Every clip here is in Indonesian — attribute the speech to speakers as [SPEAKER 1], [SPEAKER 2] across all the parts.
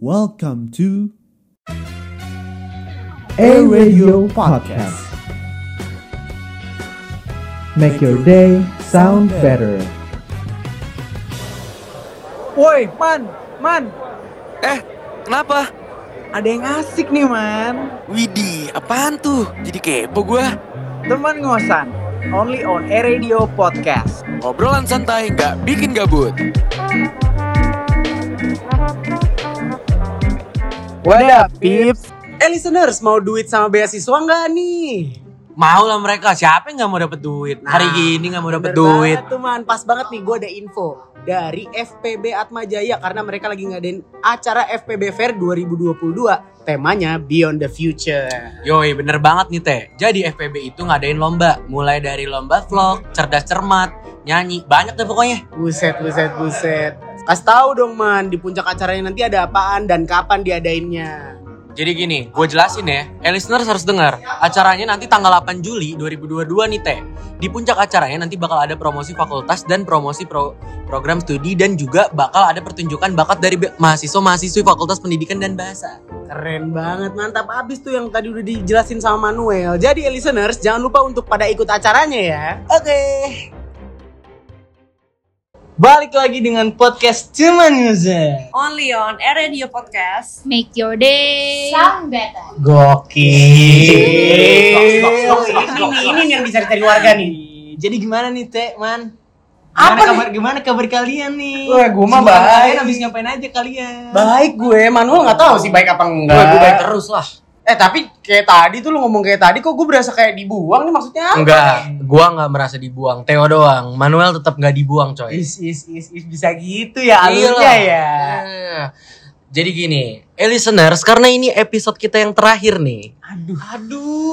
[SPEAKER 1] Welcome to
[SPEAKER 2] A Radio Podcast. Make your day sound better.
[SPEAKER 3] Woi, Man, Man,
[SPEAKER 4] Eh, kenapa?
[SPEAKER 3] ada yang asik nih, Man.
[SPEAKER 4] Widih, apaan tuh? Jadi kepo gua.
[SPEAKER 3] Teman ngosan, only on A Radio Podcast.
[SPEAKER 4] Obrolan santai nggak bikin gabut.
[SPEAKER 3] What up, peeps? Eh, listeners, mau duit sama beasiswa nggak nih?
[SPEAKER 5] Mau lah mereka, siapa yang gak mau dapet duit? Hari gini gak mau dapet duit.
[SPEAKER 6] Nah, Bener banget tuh man, pas banget nih gue ada info dari FPB Atma Jaya karena mereka lagi ngadain acara FPB Fair 2022 temanya Beyond the Future.
[SPEAKER 5] Yoi, bener banget nih Teh. Jadi FPB itu ngadain lomba. Mulai dari lomba vlog, cerdas cermat, nyanyi. Banyak deh pokoknya.
[SPEAKER 6] Buset, buset, buset. Kasih tahu dong man, di puncak acaranya nanti ada apaan dan kapan diadainnya.
[SPEAKER 5] Jadi gini, gue jelasin ya. Eh listeners harus dengar. Acaranya nanti tanggal 8 Juli 2022 nih Teh. Di puncak acaranya nanti bakal ada promosi fakultas dan promosi pro- program studi. Dan juga bakal ada pertunjukan bakat dari be- mahasiswa-mahasiswi fakultas pendidikan dan bahasa.
[SPEAKER 6] Keren banget, mantap abis tuh yang tadi udah dijelasin sama Manuel. Jadi listeners, jangan lupa untuk pada ikut acaranya ya.
[SPEAKER 5] Oke.
[SPEAKER 3] Balik lagi dengan podcast Cuman Ngosan.
[SPEAKER 7] only on Air Radio Podcast.
[SPEAKER 8] Make your day sound better.
[SPEAKER 6] ini yang dicari-cari warga nih.
[SPEAKER 3] Jadi gimana nih, Teh, Man?
[SPEAKER 6] Apa nih?
[SPEAKER 3] kabar, gimana kabar kalian nih?
[SPEAKER 6] Wah, gua mah
[SPEAKER 3] Sebelum
[SPEAKER 6] baik.
[SPEAKER 3] kalian Habis ngapain aja kalian?
[SPEAKER 6] Baik gue, Manuel nggak tahu sih baik apa enggak.
[SPEAKER 5] Gue baik terus lah.
[SPEAKER 6] Eh tapi kayak tadi tuh lu ngomong kayak tadi kok gue berasa kayak dibuang nih maksudnya apa?
[SPEAKER 5] Enggak, gua nggak merasa dibuang. Theo doang. Manuel tetap nggak dibuang, coy.
[SPEAKER 3] Is, is, is, is, bisa gitu ya
[SPEAKER 5] Iya
[SPEAKER 3] alurnya
[SPEAKER 5] loh.
[SPEAKER 3] ya.
[SPEAKER 5] Nah, Jadi gini, eh listeners, karena ini episode kita yang terakhir nih.
[SPEAKER 6] ya. Aduh,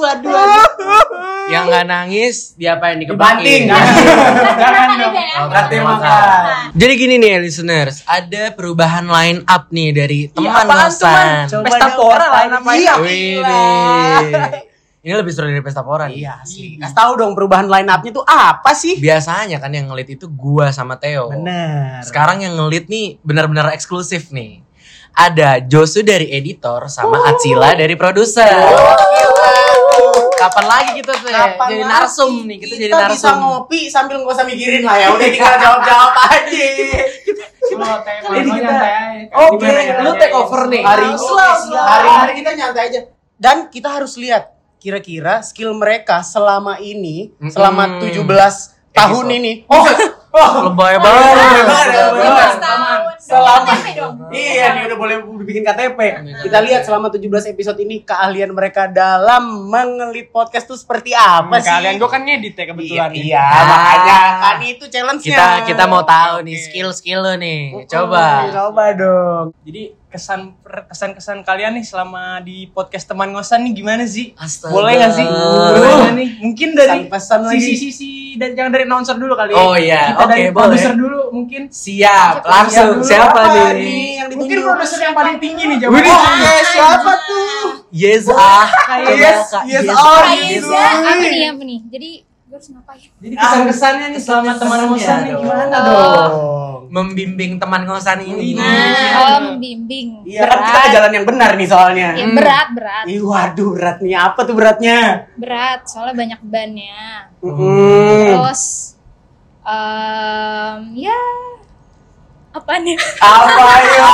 [SPEAKER 6] aduh, aduh.
[SPEAKER 5] Yang nggak nangis, diapain
[SPEAKER 6] Dibanting.
[SPEAKER 5] dikebanting.
[SPEAKER 8] Jangan dong.
[SPEAKER 5] Jadi gini nih listeners, ada perubahan line up nih dari teman Hasan.
[SPEAKER 6] Pesta pora lah apa Iya.
[SPEAKER 5] Wih, Ini lebih seru dari pesta pora nih.
[SPEAKER 6] Iya sih. Kasih tahu dong perubahan line up-nya tuh apa sih?
[SPEAKER 5] Biasanya kan yang ngelit itu gua sama Theo.
[SPEAKER 6] Bener.
[SPEAKER 5] Sekarang yang ngelit nih benar-benar eksklusif nih. Ada Josu dari editor sama Atsila dari produser. Kapan lagi kita tuh ya? Eh, jadi narsum nih kita, jadi
[SPEAKER 6] Kita bisa
[SPEAKER 5] narsum.
[SPEAKER 6] ngopi sambil nggak usah mikirin lah ya. Udah tinggal jawab-jawab aja.
[SPEAKER 3] Jadi kita
[SPEAKER 5] Oke, lu take over nih.
[SPEAKER 6] Hari
[SPEAKER 3] Slow, slow.
[SPEAKER 6] hari-hari kita nyantai aja. Dan kita harus lihat kira-kira skill mereka selama ini,
[SPEAKER 5] Mm-mm.
[SPEAKER 6] selama 17 tahun
[SPEAKER 5] Episode.
[SPEAKER 6] ini. Oh,
[SPEAKER 5] lebay banget.
[SPEAKER 6] Lebay banget.
[SPEAKER 8] Selamat.
[SPEAKER 6] Iya nih udah boleh bikin KTP. Kita lihat selama 17 episode ini keahlian mereka dalam mengelit podcast tuh seperti apa sih?
[SPEAKER 3] Kalian gue kan ngedit ya kebetulan.
[SPEAKER 6] Iya, iya
[SPEAKER 5] Ah.
[SPEAKER 6] makanya kan itu challenge-nya.
[SPEAKER 5] Kita kita mau tahu nih skill-skill lu nih. Coba.
[SPEAKER 6] Coba dong.
[SPEAKER 3] Jadi kesan kesan kesan kalian nih selama di podcast teman ngosan nih gimana sih?
[SPEAKER 5] Astaga. Oh,
[SPEAKER 3] Boleh nggak sih?
[SPEAKER 5] Boleh.
[SPEAKER 3] Boleh nih. Mungkin dari
[SPEAKER 6] Pesan-pesan lagi.
[SPEAKER 3] sisi sisi dan jangan dari announcer dulu kali.
[SPEAKER 5] Oh iya,
[SPEAKER 3] Kita
[SPEAKER 5] oke,
[SPEAKER 3] dari
[SPEAKER 5] boleh.
[SPEAKER 3] produser dulu mungkin.
[SPEAKER 5] Siap, langsung.
[SPEAKER 3] Dulu
[SPEAKER 5] Siapa
[SPEAKER 3] apa
[SPEAKER 5] nih?
[SPEAKER 6] yang ditunjuk?
[SPEAKER 3] Mungkin produser yang paling tinggi nih
[SPEAKER 6] Wih,
[SPEAKER 3] jawabannya.
[SPEAKER 6] eh, siapa tuh?
[SPEAKER 5] Yes ah.
[SPEAKER 3] Kayak-
[SPEAKER 6] Yes,
[SPEAKER 5] Kak,
[SPEAKER 6] yes,
[SPEAKER 5] yes,
[SPEAKER 6] all
[SPEAKER 8] Kayak apa nih apa nih? Jadi gue harus ngapain?
[SPEAKER 3] Jadi kesan kesannya nih selama teman ngosan nih gimana dong?
[SPEAKER 6] dong.
[SPEAKER 5] Membimbing teman ngosan ini.
[SPEAKER 8] Nah, oh, membimbing.
[SPEAKER 6] Iya, kan kita jalan Hmm. yang benar nih soalnya.
[SPEAKER 8] Ya, berat, berat,
[SPEAKER 6] Ih, waduh, berat nih. Apa tuh beratnya?
[SPEAKER 8] berat. Soalnya banyak bannya.
[SPEAKER 6] Mm.
[SPEAKER 8] Terus, em, ya apa nih?
[SPEAKER 6] Apa ya?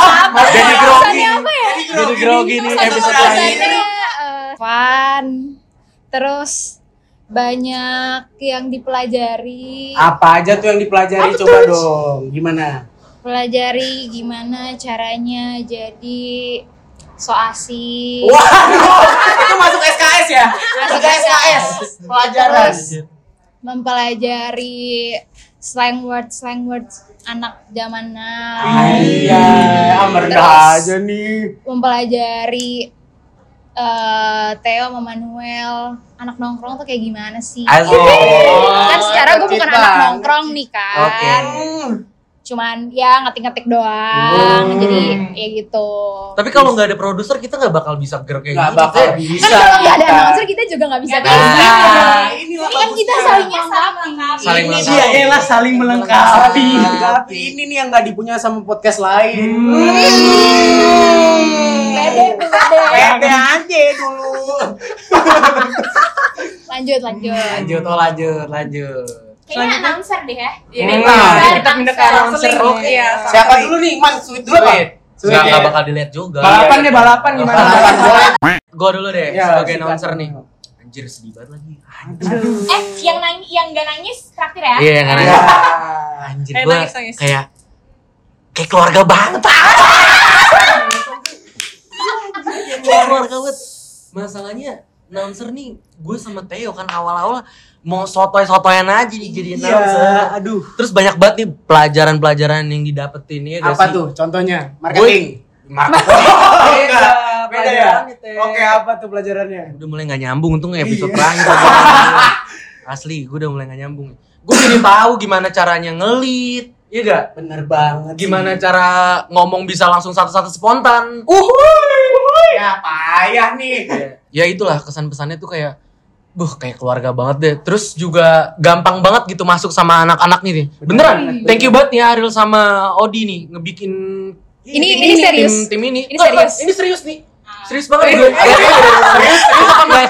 [SPEAKER 5] Jadi grogi.
[SPEAKER 8] apa ya?
[SPEAKER 5] Jadi grogi nih episode
[SPEAKER 6] Satu-satu.
[SPEAKER 5] lain.
[SPEAKER 8] Eh, Fun. Terus banyak yang dipelajari.
[SPEAKER 6] Apa aja tuh yang dipelajari
[SPEAKER 8] Apa
[SPEAKER 6] coba
[SPEAKER 8] tuh?
[SPEAKER 6] dong. Gimana?
[SPEAKER 8] pelajari gimana caranya jadi soasi
[SPEAKER 6] Waduh, itu masuk SKS ya? Masuk SKS. Pelajaran.
[SPEAKER 8] mempelajari slang word slang words anak zaman now
[SPEAKER 6] Ah, Iya, ah, merendah
[SPEAKER 8] Terus.
[SPEAKER 6] aja nih.
[SPEAKER 8] mempelajari eh, Theo sama Manuel anak nongkrong tuh kayak gimana sih kan secara gue bukan
[SPEAKER 6] tercipta.
[SPEAKER 8] anak nongkrong nih kan
[SPEAKER 5] Oke.
[SPEAKER 8] Hmm. cuman ya ngetik-ngetik doang
[SPEAKER 6] Hmm.
[SPEAKER 8] jadi ya gitu
[SPEAKER 5] Tapi kalau nggak ada produser kita nggak bakal bisa gerak kayak gitu. gini,
[SPEAKER 6] Gak bakal
[SPEAKER 5] Teh.
[SPEAKER 8] kan
[SPEAKER 6] bisa.
[SPEAKER 8] kalau nggak ada announcer kita juga nggak bisa kayak
[SPEAKER 5] bisa.
[SPEAKER 8] gitu.
[SPEAKER 6] Nah, inilah
[SPEAKER 8] Ini kan kita
[SPEAKER 6] bagusnya.
[SPEAKER 8] salingnya sama.
[SPEAKER 5] Saling
[SPEAKER 8] Ini
[SPEAKER 5] melengkapi.
[SPEAKER 6] Iya,
[SPEAKER 8] dia.
[SPEAKER 6] elah saling melengkapi.
[SPEAKER 5] Melengkapi.
[SPEAKER 6] Ini nih yang gak dipunya sama podcast lain.
[SPEAKER 3] Hmm.
[SPEAKER 6] Hmm. dulu.
[SPEAKER 8] Lanjut, lanjut.
[SPEAKER 6] Lanjut, oh lanjut, lanjut.
[SPEAKER 8] Kayaknya announcer deh ya.
[SPEAKER 3] Nah, kita pindah ke announcer.
[SPEAKER 7] Iya.
[SPEAKER 6] Siapa dulu nih? Man, sweet dulu apa? Sweet
[SPEAKER 5] Nggak,
[SPEAKER 6] ya?
[SPEAKER 5] nggak bakal dilihat juga.
[SPEAKER 3] Balapan deh, balapan gimana?
[SPEAKER 6] Balapan boleh.
[SPEAKER 5] Gue dulu deh
[SPEAKER 6] Ya,
[SPEAKER 5] sebagai
[SPEAKER 6] silakan.
[SPEAKER 5] announcer nih. Anjir sedih banget lagi.
[SPEAKER 8] Eh, yang nangis, yang gak nangis traktir ya.
[SPEAKER 5] Iya yang
[SPEAKER 6] Ya.
[SPEAKER 5] karena anjir
[SPEAKER 7] Eh,
[SPEAKER 5] gue
[SPEAKER 7] nangis, nangis.
[SPEAKER 5] kayak kayak keluarga banget. ah. Kayak keluarga banget. Masalahnya announcer nih gue sama Theo kan awal-awal mau sotoy-sotoyan aja nih jadi announcer.
[SPEAKER 6] Iya. aduh.
[SPEAKER 5] Terus banyak banget nih pelajaran-pelajaran yang didapetin ya
[SPEAKER 6] Apa tuh contohnya? Marketing.
[SPEAKER 3] Beda,
[SPEAKER 6] Oh, Beda ya? Oke, apa tuh pelajarannya?
[SPEAKER 5] udah mulai nggak nyambung untung episode terakhir aja. asli gue udah mulai nggak nyambung gue jadi tahu gimana caranya ngelit iya gak
[SPEAKER 6] Bener banget. sih.
[SPEAKER 5] gimana cara ngomong bisa langsung satu-satu spontan
[SPEAKER 6] Ya payah nih.
[SPEAKER 5] ya itulah kesan pesannya tuh kayak buh kayak keluarga banget deh terus juga gampang banget gitu masuk sama anak-anak nih deh. beneran thank you banget nih Ariel sama Odi nih ngebikin
[SPEAKER 8] Ini-
[SPEAKER 5] tim
[SPEAKER 8] ini serius?
[SPEAKER 5] tim, tim ini
[SPEAKER 8] Ini
[SPEAKER 5] Nggak, nggak,
[SPEAKER 8] serius?
[SPEAKER 5] ini serius nih serius banget gue serius serius apa nggak?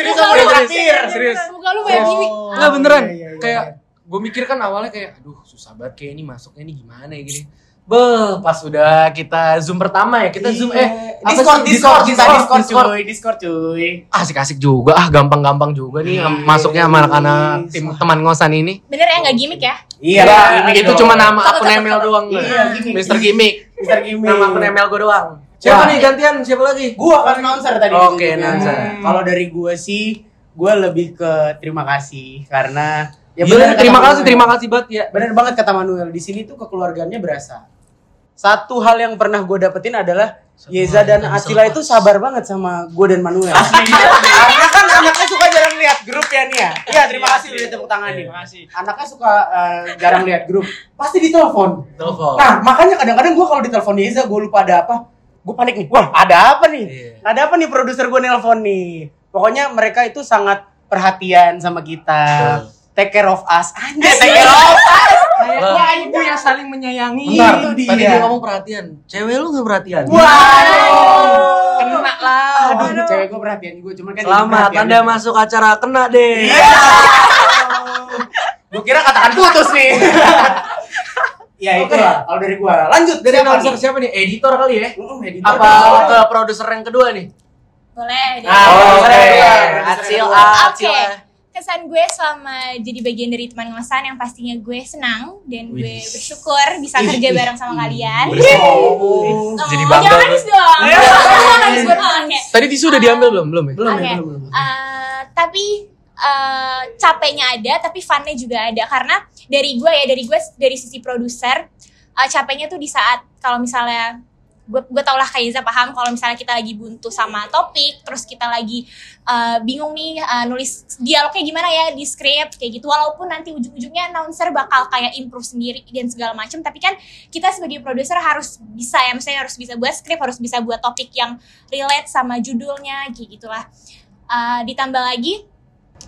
[SPEAKER 6] Serius
[SPEAKER 5] apa
[SPEAKER 6] serius,
[SPEAKER 5] nih?
[SPEAKER 6] serius, serius.
[SPEAKER 8] Muka lu kayak gini.
[SPEAKER 5] Enggak beneran.
[SPEAKER 6] iya, iya, iya.
[SPEAKER 5] Kayak gue mikir kan awalnya kayak aduh susah banget kayak ini masuknya ini gimana ya gini. Be, pas udah kita zoom pertama ya, kita
[SPEAKER 6] Iya.
[SPEAKER 5] zoom eh apa
[SPEAKER 6] Discord,
[SPEAKER 5] sih?
[SPEAKER 6] Discord, kita Discord,
[SPEAKER 5] Discord.
[SPEAKER 6] cuy, Discord cuy.
[SPEAKER 5] Asik-asik juga ah, gampang-gampang juga nih
[SPEAKER 6] Iya.
[SPEAKER 5] masuknya sama anak-anak tim teman ngosan ini.
[SPEAKER 8] Bener ya, gak gimmick ya?
[SPEAKER 6] Iya,
[SPEAKER 5] Gimik itu cuma nama akun Emel doang.
[SPEAKER 6] Iya,
[SPEAKER 5] Iya,
[SPEAKER 6] gimik.
[SPEAKER 5] Mister Gimik.
[SPEAKER 6] Mister Gimik.
[SPEAKER 5] Nama akun Emel gue doang. Ya Siapa
[SPEAKER 6] Wah.
[SPEAKER 5] nih gantian? Siapa lagi?
[SPEAKER 6] Gua kan announcer tadi.
[SPEAKER 5] Oke,
[SPEAKER 6] tutupnya.
[SPEAKER 5] announcer.
[SPEAKER 6] Hmm. Kalau dari gua sih, gua lebih ke terima kasih karena
[SPEAKER 5] Ya
[SPEAKER 6] bener kata
[SPEAKER 5] terima kasih,
[SPEAKER 6] Manuel.
[SPEAKER 5] terima kasih banget ya.
[SPEAKER 6] Bener banget kata Manuel. Di sini tuh kekeluargaannya berasa. Satu hal yang pernah gue dapetin adalah Yeza dan Atila itu sabar banget sama gue dan Manuel. Karena kan anaknya suka jarang lihat grup ya Nia. Iya terima kasih udah tepuk tangan nih.
[SPEAKER 3] Terima kasih.
[SPEAKER 6] Anaknya suka eh, jarang lihat grup. Pasti ditelepon.
[SPEAKER 5] Telepon.
[SPEAKER 6] Nah, makanya kadang-kadang gue kalau ditelepon Yeza, gue lupa ada apa. Gue panik nih, wah ada apa nih?
[SPEAKER 5] Iya.
[SPEAKER 6] Ada apa nih produser gue nelpon nih? Pokoknya mereka itu sangat perhatian sama kita.
[SPEAKER 5] Betul.
[SPEAKER 6] Take care of us. Anjir, take care of us.
[SPEAKER 3] Wah, ibu yang saling menyayangi.
[SPEAKER 5] Bentar,
[SPEAKER 6] Itu dia.
[SPEAKER 5] tadi dia ngomong perhatian. Cewek lu gak perhatian?
[SPEAKER 6] Waduh.
[SPEAKER 7] Kena lah.
[SPEAKER 6] Aduh, cewek gue perhatian gue. Cuman kan
[SPEAKER 5] Selamat, Anda masuk acara kena deh.
[SPEAKER 6] Gue Iya. kira katakan putus nih. ya itu lah, kalau dari gue. Lanjut,
[SPEAKER 5] Dari
[SPEAKER 6] siapa
[SPEAKER 5] announcer
[SPEAKER 6] nih?
[SPEAKER 5] siapa nih? ya. Editor kali ya?
[SPEAKER 6] Mm, editor.
[SPEAKER 5] Apa ke produser yang kedua nih?
[SPEAKER 8] Boleh. deh.
[SPEAKER 6] Ah,
[SPEAKER 5] oke.
[SPEAKER 6] Acil,
[SPEAKER 8] Oke. Kesan gue selama jadi bagian dari teman ngosan yang pastinya gue senang dan gue bersyukur bisa kerja bareng sama kalian.
[SPEAKER 6] Oh.
[SPEAKER 8] Oh,
[SPEAKER 5] Jadi bangga Iya. gue.
[SPEAKER 8] Jangan nangis dong. Jangan nangis gue. Oke.
[SPEAKER 5] Tadi tisu udah diambil belum? Belum ya?
[SPEAKER 6] Belum, ya,
[SPEAKER 8] Oke.
[SPEAKER 6] belum, belum.
[SPEAKER 8] Eh, tapi eh, capeknya ada tapi funnya juga ada karena dari gue ya dari gue dari sisi produser eh, capeknya tuh di saat kalau misalnya gue gue tau lah Kaiza paham kalau misalnya kita lagi buntu sama topik terus kita lagi eh, bingung nih eh, nulis dialognya gimana ya di script kayak gitu walaupun nanti ujung-ujungnya announcer bakal kayak improve sendiri dan segala macam tapi kan kita sebagai produser harus bisa ya misalnya harus bisa buat script harus bisa buat topik yang relate sama judulnya kayak gitulah Uh, ditambah lagi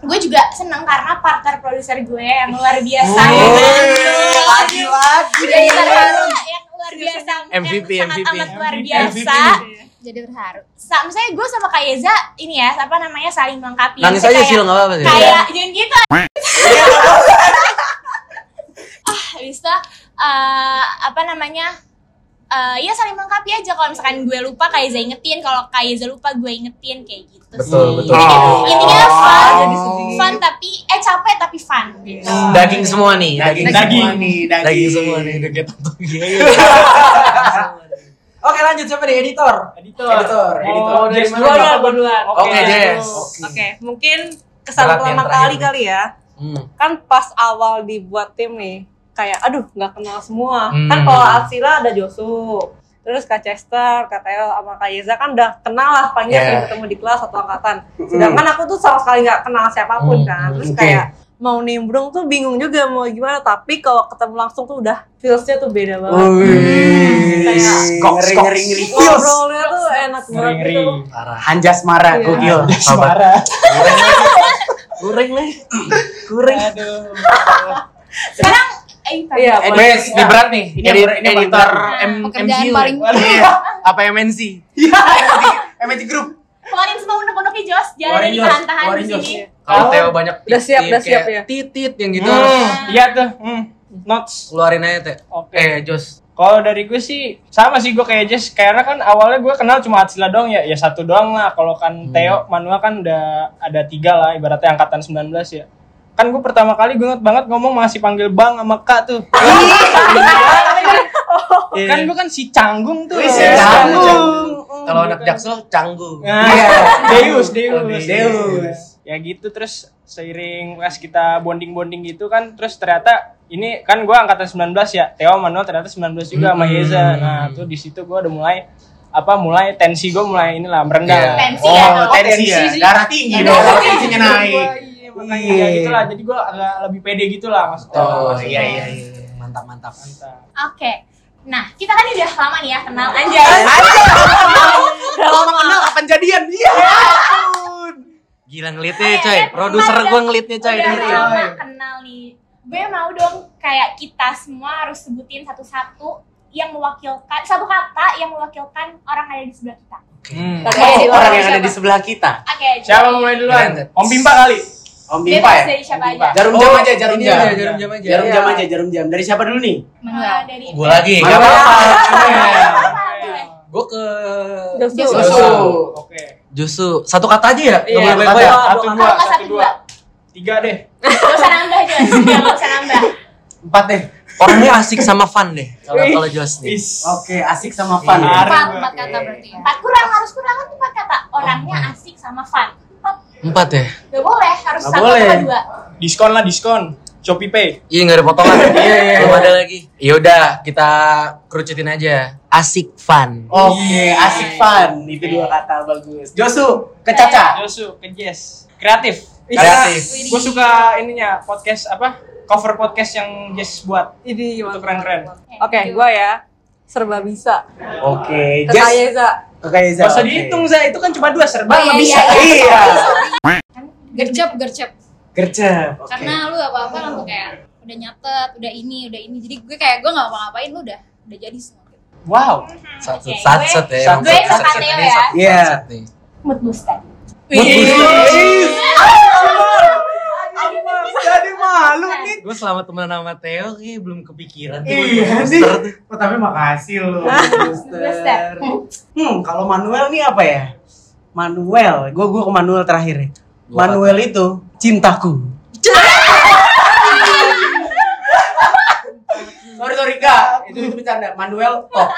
[SPEAKER 8] gue juga seneng karena partner produser gue yang luar biasa
[SPEAKER 5] Oh, iya.
[SPEAKER 8] lagi
[SPEAKER 6] lagi.
[SPEAKER 8] jadi terharu yang luar biasa
[SPEAKER 5] MVP,
[SPEAKER 8] yang sangat
[SPEAKER 5] MVP.
[SPEAKER 8] amat luar biasa jadi terharu Sa- misalnya gue sama Kak Yeza ini ya apa namanya saling melengkapi
[SPEAKER 5] Nangis
[SPEAKER 8] Misalnya
[SPEAKER 5] aja
[SPEAKER 8] Iya,
[SPEAKER 5] sih,
[SPEAKER 8] kayak-
[SPEAKER 5] nggak apa-apa sih.
[SPEAKER 6] Iya.
[SPEAKER 8] kayak jangan gitu ah habis itu eh, apa namanya eh, ya saling melengkapi aja kalau misalkan gue lupa Kak Yeza ingetin kalau Kak Yeza lupa gue ingetin kayak gitu
[SPEAKER 5] Betul, betul.
[SPEAKER 8] sih. Intinya,
[SPEAKER 6] Oh.
[SPEAKER 8] intinya fun
[SPEAKER 6] Jadi sedih. Iya.
[SPEAKER 8] fun tapi eh capek tapi fun
[SPEAKER 5] Daging semua nih.
[SPEAKER 6] Daging,
[SPEAKER 5] Daging,
[SPEAKER 6] daging, semua nih, daging.
[SPEAKER 5] Daging semua nih. Daging tato gini. Oke lanjut siapa nih editor?
[SPEAKER 3] Editor.
[SPEAKER 6] Editor, editor.
[SPEAKER 3] Oh, dari
[SPEAKER 6] Jess
[SPEAKER 3] mana?
[SPEAKER 6] duluan
[SPEAKER 3] Bapak
[SPEAKER 6] ya,
[SPEAKER 3] gua duluan.
[SPEAKER 5] Oke, Jess.
[SPEAKER 7] Oke, mungkin kesan
[SPEAKER 5] Berat yang
[SPEAKER 7] pertama
[SPEAKER 5] terakhir
[SPEAKER 7] kali
[SPEAKER 5] nih.
[SPEAKER 7] kali ya.
[SPEAKER 5] Hmm.
[SPEAKER 7] Kan pas awal dibuat tim nih, kayak aduh nggak kenal semua.
[SPEAKER 5] Hmm.
[SPEAKER 7] Kan kalau Atsila ada Josu, terus Kak Chester, Kak Teo, sama Kak Yeza kan udah kenal lah panggil
[SPEAKER 5] Yeah.
[SPEAKER 7] sering ketemu di kelas atau angkatan. Sedangkan aku tuh sama sekali nggak kenal siapapun
[SPEAKER 5] Hmm.
[SPEAKER 7] kan. Terus
[SPEAKER 6] Oke.
[SPEAKER 7] kayak mau nimbrung tuh bingung juga mau gimana tapi kalau ketemu langsung tuh udah feelsnya tuh beda banget
[SPEAKER 6] Wih,
[SPEAKER 7] Kayak-
[SPEAKER 6] ngeri ngeri ngeri. Oh, Feels.
[SPEAKER 7] ngobrolnya tuh enak banget gitu.
[SPEAKER 5] Parah.
[SPEAKER 6] Hanjas marah,
[SPEAKER 7] Iya.
[SPEAKER 6] gokil.
[SPEAKER 5] Sabar. Goreng nih. Goreng.
[SPEAKER 8] sekarang eh, tadi.
[SPEAKER 7] Iya, boleh.
[SPEAKER 5] Wes, ini berat nih.
[SPEAKER 6] Ini
[SPEAKER 5] Edit-
[SPEAKER 6] berat, ini paling
[SPEAKER 8] Nah,
[SPEAKER 5] editor
[SPEAKER 8] berat.
[SPEAKER 5] M- ya.
[SPEAKER 8] Pekerjaan
[SPEAKER 5] MCU.
[SPEAKER 8] paling-
[SPEAKER 5] Iya. Apa MNC?
[SPEAKER 6] Iya, MNC Group.
[SPEAKER 8] keluarin semua unek-uneknya Jos, jangan ada
[SPEAKER 6] Keluarin, Jos.
[SPEAKER 8] ditahan-tahan di
[SPEAKER 6] Keluarin, Jos.
[SPEAKER 8] sini.
[SPEAKER 5] Kalau Theo banyak
[SPEAKER 7] Udah siap,
[SPEAKER 5] titit,
[SPEAKER 7] udah siap
[SPEAKER 5] kayak
[SPEAKER 7] ya.
[SPEAKER 5] Titit yang gitu
[SPEAKER 3] Hmm,
[SPEAKER 5] harus
[SPEAKER 8] Nah,
[SPEAKER 3] Iya tuh. Hmm. Notes.
[SPEAKER 5] keluarin aja Teh.
[SPEAKER 3] Oke.
[SPEAKER 5] Eh, Jos.
[SPEAKER 3] Kalau dari gue sih sama sih gue kayak Jess karena kan awalnya gue kenal cuma Atsila doang ya, ya satu doang lah. Kalau kan Theo, Manuel kan udah ada tiga lah, ibaratnya angkatan 19 ya. Kan gue pertama kali gue inget banget ngomong masih panggil Bang sama Kak tuh. kan gue kan si Canggung tuh.
[SPEAKER 6] Wih, si
[SPEAKER 3] Ya.
[SPEAKER 6] Canggung.
[SPEAKER 5] Kalau anak Jaksel canggung.
[SPEAKER 3] Nah, Deus, Deus.
[SPEAKER 6] Deus.
[SPEAKER 3] Ya gitu terus seiring pas kita bonding-bonding gitu kan terus ternyata ini kan gue angkatan 19 ya. Theo Manuel ternyata 19 juga sama Yeza. Nah, tuh di situ gue udah mulai apa mulai tensi gue mulai inilah merendah.
[SPEAKER 5] Iya.
[SPEAKER 8] Tensi
[SPEAKER 6] Oh,
[SPEAKER 8] ya.
[SPEAKER 6] tensi ya.
[SPEAKER 3] sih.
[SPEAKER 6] Darah tinggi dong.
[SPEAKER 8] Darah tinggi.
[SPEAKER 6] Tensinya naik.
[SPEAKER 3] Iya, makanya kayak gitu lah. Jadi gue agak lebih pede gitu lah maksudnya.
[SPEAKER 5] Oh,
[SPEAKER 6] iya iya iya.
[SPEAKER 5] Mantap, mantap.
[SPEAKER 3] Mantap.
[SPEAKER 8] Oke. Nah, kita kan udah lama nih ya kenal anjay.
[SPEAKER 6] Kalau mengenal apa jadian? Iya.
[SPEAKER 5] Gila ngelitnya, ya, coy. Produser gue ngelitnya, coy.
[SPEAKER 8] Udah
[SPEAKER 5] Dengerin.
[SPEAKER 8] lama kenal nih. Gue mau dong kayak kita semua harus sebutin satu-satu yang mewakilkan satu kata yang mewakilkan orang ada di sebelah kita.
[SPEAKER 5] Hmm.
[SPEAKER 7] Oke,
[SPEAKER 6] Oh,
[SPEAKER 7] di
[SPEAKER 6] orang yang
[SPEAKER 7] siapa?
[SPEAKER 6] ada di sebelah kita.
[SPEAKER 8] Oke.
[SPEAKER 3] Siapa mulai duluan?
[SPEAKER 5] Keren.
[SPEAKER 3] Om Pimpa kali.
[SPEAKER 6] Om Bimpa
[SPEAKER 8] Bebas
[SPEAKER 6] ya.
[SPEAKER 8] dari siapa
[SPEAKER 3] Om Bimpa.
[SPEAKER 8] aja.
[SPEAKER 6] Jarum jam aja, iya, jarum
[SPEAKER 5] ini
[SPEAKER 6] jam.
[SPEAKER 5] aja, Jarum Iya, jam aja.
[SPEAKER 6] Jarum jam
[SPEAKER 7] Iya.
[SPEAKER 6] aja, jarum jam. Dari siapa dulu nih?
[SPEAKER 8] Eh, dari
[SPEAKER 5] Gue lagi. Gak
[SPEAKER 6] Manuel. Iya.
[SPEAKER 5] apa-apa.
[SPEAKER 8] Apa,
[SPEAKER 3] Nah,
[SPEAKER 8] apa, apa?
[SPEAKER 5] Gue ke
[SPEAKER 7] Josu.
[SPEAKER 5] Josu.
[SPEAKER 6] Susu.
[SPEAKER 3] Oke.
[SPEAKER 5] Josu. Satu kata aja ya? Gak
[SPEAKER 7] Iya,
[SPEAKER 5] boleh
[SPEAKER 7] satu
[SPEAKER 5] banyak-banyak.
[SPEAKER 7] kata.
[SPEAKER 3] Satu dua,
[SPEAKER 8] Kalau nggak
[SPEAKER 3] satu
[SPEAKER 8] satu
[SPEAKER 3] dua. Tiga deh.
[SPEAKER 8] Gak usah nambah aja, gak usah nambah.
[SPEAKER 6] Empat deh.
[SPEAKER 5] Orangnya asik sama fun deh. Kalau
[SPEAKER 3] Wih.
[SPEAKER 5] kalau Jos nih.
[SPEAKER 3] Is.
[SPEAKER 6] Oke, asik sama fun.
[SPEAKER 3] Iya.
[SPEAKER 6] ya.
[SPEAKER 3] Empat,
[SPEAKER 8] Empat,
[SPEAKER 3] empat
[SPEAKER 8] empat kata berarti ya. Empat kurang, harus kurang kan empat kata. Orangnya asik sama fun. Empat,
[SPEAKER 5] Empat ya?
[SPEAKER 8] gak boleh, harus
[SPEAKER 6] Nggak
[SPEAKER 8] satu
[SPEAKER 6] boleh.
[SPEAKER 8] atau dua.
[SPEAKER 3] Diskon lah diskon. Shopee Pay.
[SPEAKER 5] Iya nggak ada potongan. Iya iya. Belum ada lagi. Ya udah kita kerucutin aja. Asik fun.
[SPEAKER 6] Oke, asik fun. Itu dua kata bagus. Josu, Eh, ke Caca.
[SPEAKER 3] Josu ke Jess. Kreatif.
[SPEAKER 5] Kreatif.
[SPEAKER 3] Gue suka ininya podcast apa? Cover podcast yang Jess buat.
[SPEAKER 7] Ini
[SPEAKER 3] Itu keren-keren.
[SPEAKER 7] Oke,
[SPEAKER 8] Gitu.
[SPEAKER 7] gue ya serba bisa.
[SPEAKER 6] Oke,
[SPEAKER 7] Kakak
[SPEAKER 6] Jess.
[SPEAKER 7] Yeza.
[SPEAKER 6] Kakak Yeza.
[SPEAKER 3] Gak usah
[SPEAKER 6] oke.
[SPEAKER 3] dihitung, Za. Itu kan cuma dua
[SPEAKER 1] Oh,
[SPEAKER 3] serba sama
[SPEAKER 1] iya,
[SPEAKER 3] bisa.
[SPEAKER 6] Iya.
[SPEAKER 8] Kan
[SPEAKER 1] gercep gercep
[SPEAKER 6] Gercep. Oke.
[SPEAKER 1] karena lu apa apa langsung kayak udah nyatet udah ini udah ini jadi gue kayak gue nggak apa ngapain lu udah udah jadi semua gitu.
[SPEAKER 6] Wow.
[SPEAKER 5] Satu
[SPEAKER 8] Oke,
[SPEAKER 5] satu satu
[SPEAKER 3] gue-
[SPEAKER 5] ya. Satu,
[SPEAKER 3] gue
[SPEAKER 5] satu, satu,
[SPEAKER 8] sama Theo ya.
[SPEAKER 5] satu, satu,
[SPEAKER 6] Iya.
[SPEAKER 5] satu nih.
[SPEAKER 8] mood booster.
[SPEAKER 6] Wih. Jadi malu nih.
[SPEAKER 5] Gue selama temenan sama Theo kayak belum kepikiran. tuh
[SPEAKER 6] Iya
[SPEAKER 5] buat
[SPEAKER 6] sih.
[SPEAKER 5] booster tuh.
[SPEAKER 6] Oh, tapi makasih loh.
[SPEAKER 8] Booster.
[SPEAKER 6] Booster. Hmm, kalau Manuel nih apa ya? Manuel, gue gue ke Manuel terakhir nih.
[SPEAKER 5] Gua
[SPEAKER 6] Manuel itu cintaku. sorry sorry kak, itu itu bercanda. Manuel top,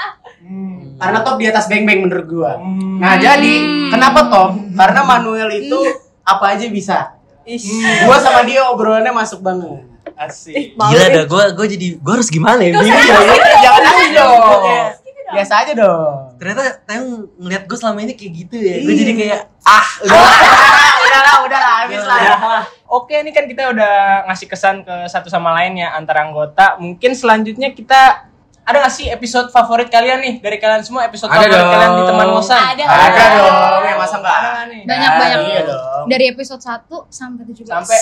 [SPEAKER 6] karena top di atas beng beng menurut gue. Nah jadi kenapa top? Karena Manuel itu apa aja bisa. Gue sama dia obrolannya masuk banget.
[SPEAKER 7] Ih,
[SPEAKER 3] Asik.
[SPEAKER 7] malu
[SPEAKER 5] Gila
[SPEAKER 7] deh.
[SPEAKER 5] dah gue gue jadi gue harus gimana ya?
[SPEAKER 6] Iya,
[SPEAKER 5] Bingung.
[SPEAKER 6] iya, jangan nangis dong. Biasa aja dong.
[SPEAKER 5] Ternyata Theo ngeliat gue selama ini kayak gitu ya. Gue
[SPEAKER 6] Iya.
[SPEAKER 5] jadi kayak
[SPEAKER 6] Udah lah, udah lah, udah lah, Iya, habis lah.
[SPEAKER 3] Oke, ini kan kita udah ngasih kesan ke satu sama lain ya antara anggota. Mungkin selanjutnya kita ada nggak sih episode favorit kalian nih dari kalian semua episode
[SPEAKER 5] Ada
[SPEAKER 3] favorit
[SPEAKER 5] dong.
[SPEAKER 3] kalian di teman ngosan?
[SPEAKER 8] Ada.
[SPEAKER 6] Ada dong, ya masa enggak?
[SPEAKER 3] Ada nggak Nah, nih?
[SPEAKER 1] banyak banyak
[SPEAKER 6] Iya dong.
[SPEAKER 1] dari episode 1 sampai 17
[SPEAKER 3] Sampai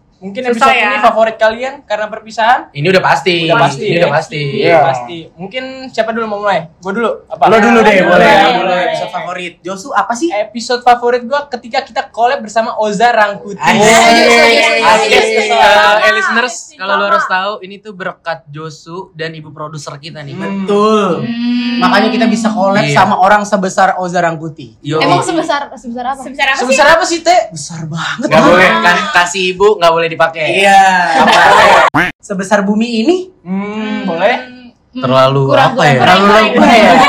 [SPEAKER 3] 17. Mungkin
[SPEAKER 7] Susah
[SPEAKER 3] episode
[SPEAKER 7] ya.
[SPEAKER 3] ini favorit kalian karena perpisahan?
[SPEAKER 5] ini udah pasti.
[SPEAKER 3] Udah pasti,
[SPEAKER 5] Ini
[SPEAKER 3] ya?
[SPEAKER 5] udah pasti.
[SPEAKER 3] Iya pasti. Mungkin siapa dulu mau mulai? Gue dulu. Apa?
[SPEAKER 6] Lo dulu deh, boleh.
[SPEAKER 8] Boleh, boleh,
[SPEAKER 6] Dulu
[SPEAKER 8] boleh.
[SPEAKER 6] episode favorit. Josu apa sih?
[SPEAKER 3] Episode favorit gue ketika kita collab bersama Oza Rangkuti.
[SPEAKER 5] Asik.
[SPEAKER 1] Asik.
[SPEAKER 5] Asik.
[SPEAKER 6] Iya,
[SPEAKER 3] Sama.
[SPEAKER 5] Eh, listeners,
[SPEAKER 8] Sama.
[SPEAKER 5] kalau lu harus tahu ini tuh berkat Josu dan ibu produser kita nih.
[SPEAKER 6] Betul.
[SPEAKER 1] Hmm.
[SPEAKER 6] Makanya kita bisa collab
[SPEAKER 5] Iya.
[SPEAKER 6] sama orang sebesar Oza Rangkuti.
[SPEAKER 5] Yo.
[SPEAKER 1] emang sebesar sebesar apa
[SPEAKER 8] Sebesar apa sih?
[SPEAKER 3] Sebesar apa sih, Teh?
[SPEAKER 6] Besar banget.
[SPEAKER 5] Gak
[SPEAKER 6] Bang.
[SPEAKER 5] boleh kan kasih ibu nggak boleh dipakai.
[SPEAKER 6] Iya. Apa? Sebesar bumi ini?
[SPEAKER 3] Hmm, boleh.
[SPEAKER 1] Hmm,
[SPEAKER 5] Terlalu
[SPEAKER 1] kurang,
[SPEAKER 5] apa
[SPEAKER 1] kurang,
[SPEAKER 5] ya?
[SPEAKER 1] kurang,
[SPEAKER 6] Terlalu
[SPEAKER 1] kurang,
[SPEAKER 6] lebay
[SPEAKER 1] kurang.
[SPEAKER 8] Udah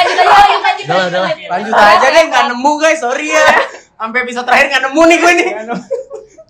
[SPEAKER 8] lanjut aja, lanjut lanjut.
[SPEAKER 5] Udah lah, udah lah.
[SPEAKER 8] lanjut.
[SPEAKER 6] Lanjut aja deh, nggak nemu guys, sorry ya. Sampai episode terakhir nggak nemu nih gue nih.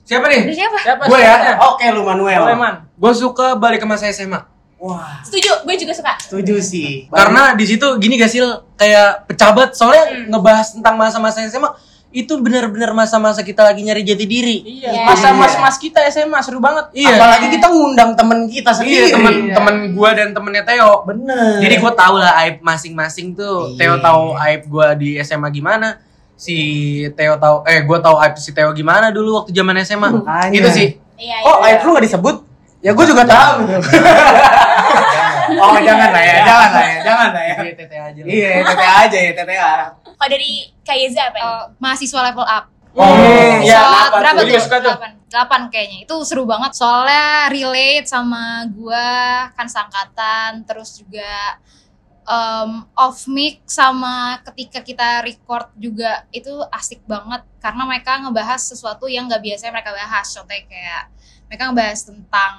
[SPEAKER 5] Siapa nih?
[SPEAKER 1] Terus siapa
[SPEAKER 3] Siapa?
[SPEAKER 6] Gue ya.
[SPEAKER 1] Iya.
[SPEAKER 3] siapa?
[SPEAKER 6] Oke lu Manuel.
[SPEAKER 3] Boleh, Man.
[SPEAKER 5] Gue suka balik ke masa SMA
[SPEAKER 6] Wah,
[SPEAKER 8] Setuju, gue juga suka.
[SPEAKER 6] setuju sih.
[SPEAKER 5] karena di situ gini gak sih kayak pecabat soalnya ngebahas tentang masa-masa SMA itu benar-benar masa-masa kita lagi nyari jati diri.
[SPEAKER 3] Iya.
[SPEAKER 8] Iya.
[SPEAKER 3] Masa mas-mas kita SMA seru banget.
[SPEAKER 5] Iya.
[SPEAKER 6] Apalagi kita ngundang temen kita sendiri.
[SPEAKER 5] Iya teman-teman gue dan temennya Theo.
[SPEAKER 6] Bener.
[SPEAKER 5] Jadi gue tau lah aib masing-masing tuh.
[SPEAKER 6] Iya.
[SPEAKER 5] Theo tahu aib gue di SMA gimana. Si Theo tahu eh gue tahu aib si Theo gimana dulu waktu zaman SMA.
[SPEAKER 6] Makanya.
[SPEAKER 5] Itu sih.
[SPEAKER 6] Oh,
[SPEAKER 8] Iya,
[SPEAKER 6] kok
[SPEAKER 8] iya.
[SPEAKER 6] air lu gak disebut? Ya gue juga tahu. Oh, jangan lah ya, jangan lah ya, jangan lah ya.
[SPEAKER 5] Iya, teteh aja lah.
[SPEAKER 6] Iya, TTA aja ya, TTA.
[SPEAKER 8] Kalau dari Kak Yeza apa? nih?
[SPEAKER 1] Eh, mahasiswa level up.
[SPEAKER 6] Oh,
[SPEAKER 1] Episode
[SPEAKER 8] Ya,
[SPEAKER 6] iya, kenapa
[SPEAKER 1] berapa
[SPEAKER 6] tuh?
[SPEAKER 3] Gue
[SPEAKER 1] tuh?
[SPEAKER 3] juga Ya, suka tuh.
[SPEAKER 1] Delapan. Delapan kayaknya. Itu seru banget soalnya relate sama gua kan sangkatan terus juga em, off mic sama ketika kita record juga itu asik banget karena mereka ngebahas sesuatu yang nggak biasanya mereka bahas contohnya kayak mereka ngebahas tentang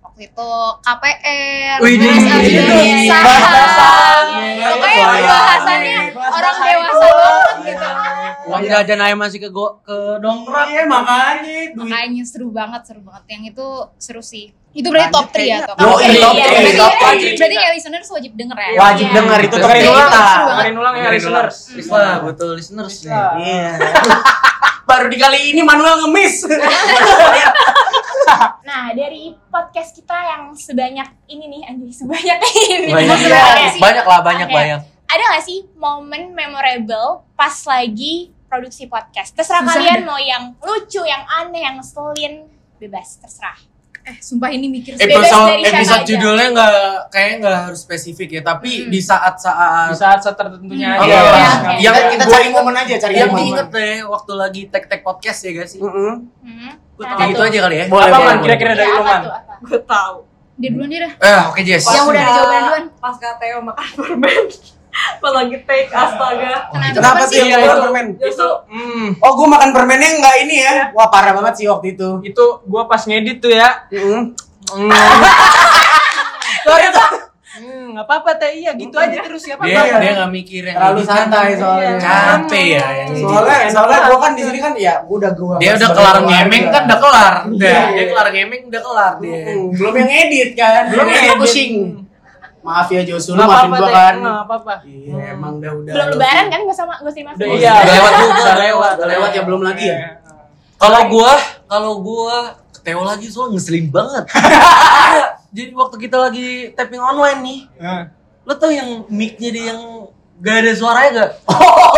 [SPEAKER 1] waktu itu KPR,
[SPEAKER 6] Wih, di-
[SPEAKER 1] terus abis
[SPEAKER 8] itu
[SPEAKER 1] dari saham.
[SPEAKER 6] Iya, bahasa saham.
[SPEAKER 1] pokoknya
[SPEAKER 6] Bahasa
[SPEAKER 1] bahasannya
[SPEAKER 6] saham.
[SPEAKER 1] orang
[SPEAKER 6] iya. Bahasa
[SPEAKER 1] dewasa
[SPEAKER 6] itu.
[SPEAKER 1] banget gitu.
[SPEAKER 5] Uang jajan aja masih ke go, ke ya, dongkrak.
[SPEAKER 6] Iya, makanya duit.
[SPEAKER 1] Makanya seru banget, seru banget. Yang itu seru sih. Itu berarti top 3 ya, top
[SPEAKER 6] Yo,
[SPEAKER 1] three.
[SPEAKER 6] top
[SPEAKER 1] Iya,
[SPEAKER 6] three,
[SPEAKER 1] berarti-
[SPEAKER 6] top
[SPEAKER 1] berarti-
[SPEAKER 6] three.
[SPEAKER 1] Berarti kayak listeners wajib denger ya.
[SPEAKER 6] Wajib
[SPEAKER 1] Iya.
[SPEAKER 6] denger itu
[SPEAKER 5] Terus
[SPEAKER 6] dengerin
[SPEAKER 5] kayak-
[SPEAKER 6] ulang.
[SPEAKER 1] Seru banget.
[SPEAKER 3] Dengerin ulang ya listeners.
[SPEAKER 5] Wah, betul listeners nih.
[SPEAKER 6] Iya. Baru di kali ini Manuel ngemis.
[SPEAKER 8] Nah, dari podcast kita yang sebanyak ini nih, anjing sebanyak ini.
[SPEAKER 5] Banyak, ya.
[SPEAKER 8] Maksudnya
[SPEAKER 6] Iya.
[SPEAKER 8] sih?
[SPEAKER 5] banyak lah, ya. banyak
[SPEAKER 8] Oke.
[SPEAKER 5] banyak.
[SPEAKER 8] Ada nggak sih momen memorable pas lagi produksi podcast? Terserah
[SPEAKER 1] Susah
[SPEAKER 8] kalian mau yang lucu, yang aneh, yang ngeselin, bebas terserah.
[SPEAKER 1] Eh, sumpah ini mikir sih.
[SPEAKER 8] Bebas
[SPEAKER 6] episode
[SPEAKER 8] dari siapa
[SPEAKER 6] episode
[SPEAKER 8] aja.
[SPEAKER 6] judulnya nggak kayaknya nggak harus spesifik ya tapi di saat-saat
[SPEAKER 3] Di saat saat tertentunya
[SPEAKER 6] Oh,
[SPEAKER 3] aja.
[SPEAKER 6] iya.
[SPEAKER 8] Oke.
[SPEAKER 3] Yang
[SPEAKER 6] yang
[SPEAKER 8] Kita-
[SPEAKER 6] kita cari momen aja cari
[SPEAKER 5] Yang
[SPEAKER 6] momen
[SPEAKER 5] diinget deh waktu lagi tek-tek podcast ya guys sih.
[SPEAKER 8] Hmm. Nah,
[SPEAKER 5] Kayak gitu
[SPEAKER 8] tuh.
[SPEAKER 5] aja kali ya.
[SPEAKER 6] Mm. Boleh,
[SPEAKER 3] apa
[SPEAKER 6] boleh,
[SPEAKER 3] man
[SPEAKER 6] boleh.
[SPEAKER 3] kira-kira dari
[SPEAKER 8] Ya,
[SPEAKER 3] lu
[SPEAKER 8] apa
[SPEAKER 3] man?
[SPEAKER 8] tuh, apa?
[SPEAKER 7] gue tahu
[SPEAKER 1] Dia duluan dia dah.
[SPEAKER 6] eh oke Jess
[SPEAKER 7] Pas
[SPEAKER 1] Yang udah ada
[SPEAKER 7] nggak-
[SPEAKER 1] jawaban duluan.
[SPEAKER 7] pas nggak Theo makan permen pas lagi take astaga
[SPEAKER 6] kenapa sih yang keluar permen
[SPEAKER 7] justru
[SPEAKER 3] Hmm,
[SPEAKER 6] oh gue makan permennya nggak ini ya wah parah banget sih waktu itu
[SPEAKER 3] itu gua pas ngedit tuh ya.
[SPEAKER 6] Mm.
[SPEAKER 3] Sorry tuh. Hmm, nggak apa-apa teh iya gitu aja terus siapa
[SPEAKER 5] Dia dia nggak mikir yang
[SPEAKER 6] terlalu
[SPEAKER 5] ini kan
[SPEAKER 6] santai soalnya
[SPEAKER 5] Capek ya yang ini.
[SPEAKER 6] soalnya soalnya gue kan di sini kan ya gua udah gua
[SPEAKER 5] Dia udah
[SPEAKER 6] sebagai
[SPEAKER 5] kelar
[SPEAKER 6] keluarga.
[SPEAKER 5] ngemeng kan udah kelar.
[SPEAKER 6] Iya.
[SPEAKER 5] Udah, dia kelar ngemeng udah kelar dia.
[SPEAKER 6] Mm, belum yang edit kan belum
[SPEAKER 5] Belum
[SPEAKER 6] yang
[SPEAKER 5] edit.
[SPEAKER 6] pusing maaf ya Josu lu
[SPEAKER 3] Nggak
[SPEAKER 6] maafin
[SPEAKER 3] apa-apa
[SPEAKER 6] gua
[SPEAKER 3] teh.
[SPEAKER 6] kan
[SPEAKER 3] Nggak apa-apa.
[SPEAKER 6] iya emang udah udah
[SPEAKER 8] Belum lebaran kan gue sama gue terima
[SPEAKER 3] Udah
[SPEAKER 8] kasih.
[SPEAKER 3] iya.
[SPEAKER 5] Udah lewat juga, udah lewat,
[SPEAKER 6] udah lewat ya belum lagi ya
[SPEAKER 5] Kalau gua, kalau gua keteo lagi soalnya ngeselin banget. Iya, Jadi waktu kita lagi tapping online nih,
[SPEAKER 8] Eh,
[SPEAKER 3] Heeh.
[SPEAKER 5] lo tau yang mic-nya dia yang gak ada suaranya gak?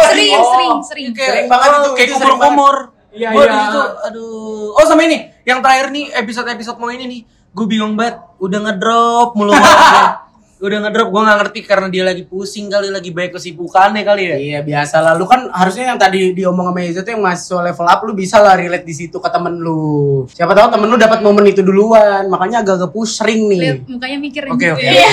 [SPEAKER 1] Sering, sering, sering.
[SPEAKER 6] Sering banget itu,
[SPEAKER 5] kayak
[SPEAKER 6] itu sering
[SPEAKER 5] kumur-kumur.
[SPEAKER 3] Iya,
[SPEAKER 5] Gua
[SPEAKER 3] iya.
[SPEAKER 5] di situ, aduh. Oh sama ini, yang terakhir nih episode-episode mau ini nih, gue bingung banget. Udah ngedrop mulu. udah ngedrop, gue nggak ngerti karena dia lagi pusing kali, lagi banyak kesibukannya kali ya.
[SPEAKER 6] Iya biasa lah, lu kan harusnya yang tadi diomong sama Eza tuh yang mahasiswa level up lu bisa lah relate di situ ke temen lu. Siapa tahu temen lu dapat momen itu duluan, makanya agak-agak pushering
[SPEAKER 8] Iya.
[SPEAKER 1] Lihat
[SPEAKER 6] nih.
[SPEAKER 1] mukanya mikir
[SPEAKER 5] Oke,
[SPEAKER 1] gitu
[SPEAKER 5] oke.
[SPEAKER 1] ya.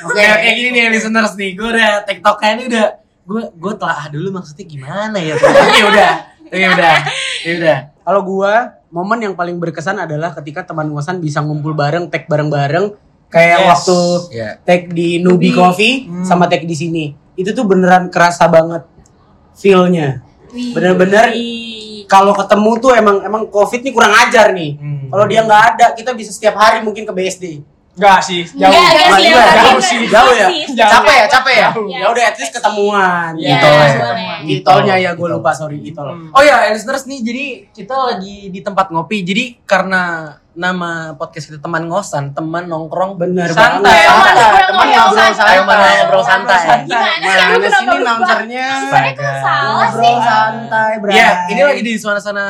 [SPEAKER 5] Oke, oke gini nih listeners nih, gue udah tiktokan ini udah gue gue telah dulu maksudnya gimana ya? Oke udah, oke udah, oke udah.
[SPEAKER 6] Kalau gua momen yang paling berkesan adalah ketika teman ngosan bisa ngumpul bareng, tag bareng-bareng kayak
[SPEAKER 3] Yes.
[SPEAKER 6] waktu
[SPEAKER 5] Iya.
[SPEAKER 6] tag di Nubi Coffee sama tag di sini. Itu tuh beneran kerasa banget feel-nya.
[SPEAKER 1] Wih.
[SPEAKER 6] Bener-bener kalau ketemu tuh emang emang covid nih kurang ajar nih.
[SPEAKER 3] Hmm.
[SPEAKER 6] Kalau dia nggak ada, kita bisa setiap hari mungkin ke BSD.
[SPEAKER 3] Enggak sih,
[SPEAKER 8] Enggak,
[SPEAKER 3] jauh.
[SPEAKER 8] enggak
[SPEAKER 6] Jauh
[SPEAKER 8] sih,
[SPEAKER 6] juga,
[SPEAKER 8] lebaran
[SPEAKER 6] jauh
[SPEAKER 8] kan
[SPEAKER 6] sih,
[SPEAKER 8] masih
[SPEAKER 6] jauh ya.
[SPEAKER 8] sih.
[SPEAKER 6] Capek ya, capek ya.
[SPEAKER 8] Iya.
[SPEAKER 6] Ya udah, at least ketemuan.
[SPEAKER 8] Iya,
[SPEAKER 6] Gitu ya.
[SPEAKER 8] boleh.
[SPEAKER 6] Di tolnya ya, gue lupa sorry di
[SPEAKER 3] Hmm.
[SPEAKER 6] tol.
[SPEAKER 5] Oh ya, listeners nih, jadi kita lagi di tempat ngopi. Jadi karena nama podcast kita teman ngosan, teman nongkrong
[SPEAKER 6] Bener
[SPEAKER 5] santai.
[SPEAKER 6] banget.
[SPEAKER 8] Teman
[SPEAKER 6] Santai.
[SPEAKER 8] ngobrol ngobrol
[SPEAKER 5] santai. Teman ngobrol santai.
[SPEAKER 8] Gimana sih lu
[SPEAKER 6] Mana sih ini
[SPEAKER 8] kenapa lupa?
[SPEAKER 6] namcernya?
[SPEAKER 8] Sebenarnya kok salah sih.
[SPEAKER 6] Ngobrol santai, bro.
[SPEAKER 5] Iya, ini lagi di suasana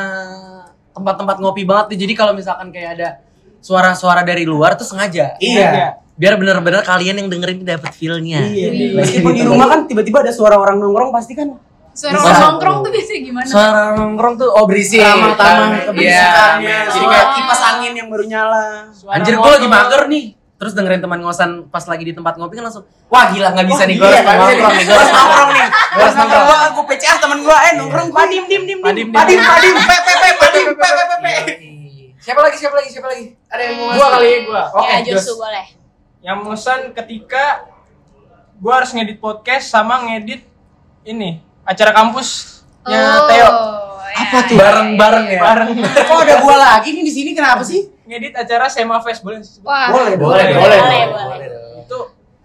[SPEAKER 5] tempat-tempat ngopi banget nih. Jadi kalau misalkan kayak ada suara-suara dari luar tuh sengaja.
[SPEAKER 6] Iya.
[SPEAKER 5] Biar bener-bener kalian yang dengerin dapet feel-nya.
[SPEAKER 6] Iya. Meskipun di rumah kan tiba-tiba ada suara orang nongkrong pasti kan
[SPEAKER 8] iya.
[SPEAKER 1] Suara orang nongkrong tuh biasanya gimana?
[SPEAKER 5] Suara nongkrong tuh oh berisik.
[SPEAKER 6] ramah-tamah keberisikannya.
[SPEAKER 5] Iya.
[SPEAKER 6] Jadi
[SPEAKER 8] Oh.
[SPEAKER 6] kayak kipas angin yang baru nyala.
[SPEAKER 5] Anjir gue lagi mager nih. Terus dengerin teman ngosan pas lagi di tempat ngopi kan langsung wah gila nggak bisa nih gue harus nongkrong nih gue harus nongkrong nih.
[SPEAKER 6] Gue harus nongkrong. Gua aku PCA temen gua eh nongkrong gua dim dim dim dim. Padim padim pe pe pe padim pe pe pe pe. Iya.
[SPEAKER 5] Siapa lagi siapa lagi siapa lagi? Ada yang mau
[SPEAKER 3] Gua kali ya, gua.
[SPEAKER 8] Ya,
[SPEAKER 3] Oke,
[SPEAKER 8] Iya, Josu
[SPEAKER 3] Jos.
[SPEAKER 8] boleh.
[SPEAKER 3] Yang bosan ketika gua harus ngedit podcast sama ngedit ini acara kampus
[SPEAKER 1] Oh,
[SPEAKER 3] Theo.
[SPEAKER 1] ya.
[SPEAKER 8] iya.
[SPEAKER 5] Bareng-bareng ya.
[SPEAKER 3] bareng
[SPEAKER 6] Kok Iya. Oh, ada gua lagi nih di sini kenapa sih?
[SPEAKER 3] ngedit acara Sema Fest boleh disebut?
[SPEAKER 1] Wah,
[SPEAKER 6] Boleh
[SPEAKER 5] Boleh,
[SPEAKER 6] boleh.
[SPEAKER 5] boleh.
[SPEAKER 8] Boleh, boleh.
[SPEAKER 3] itu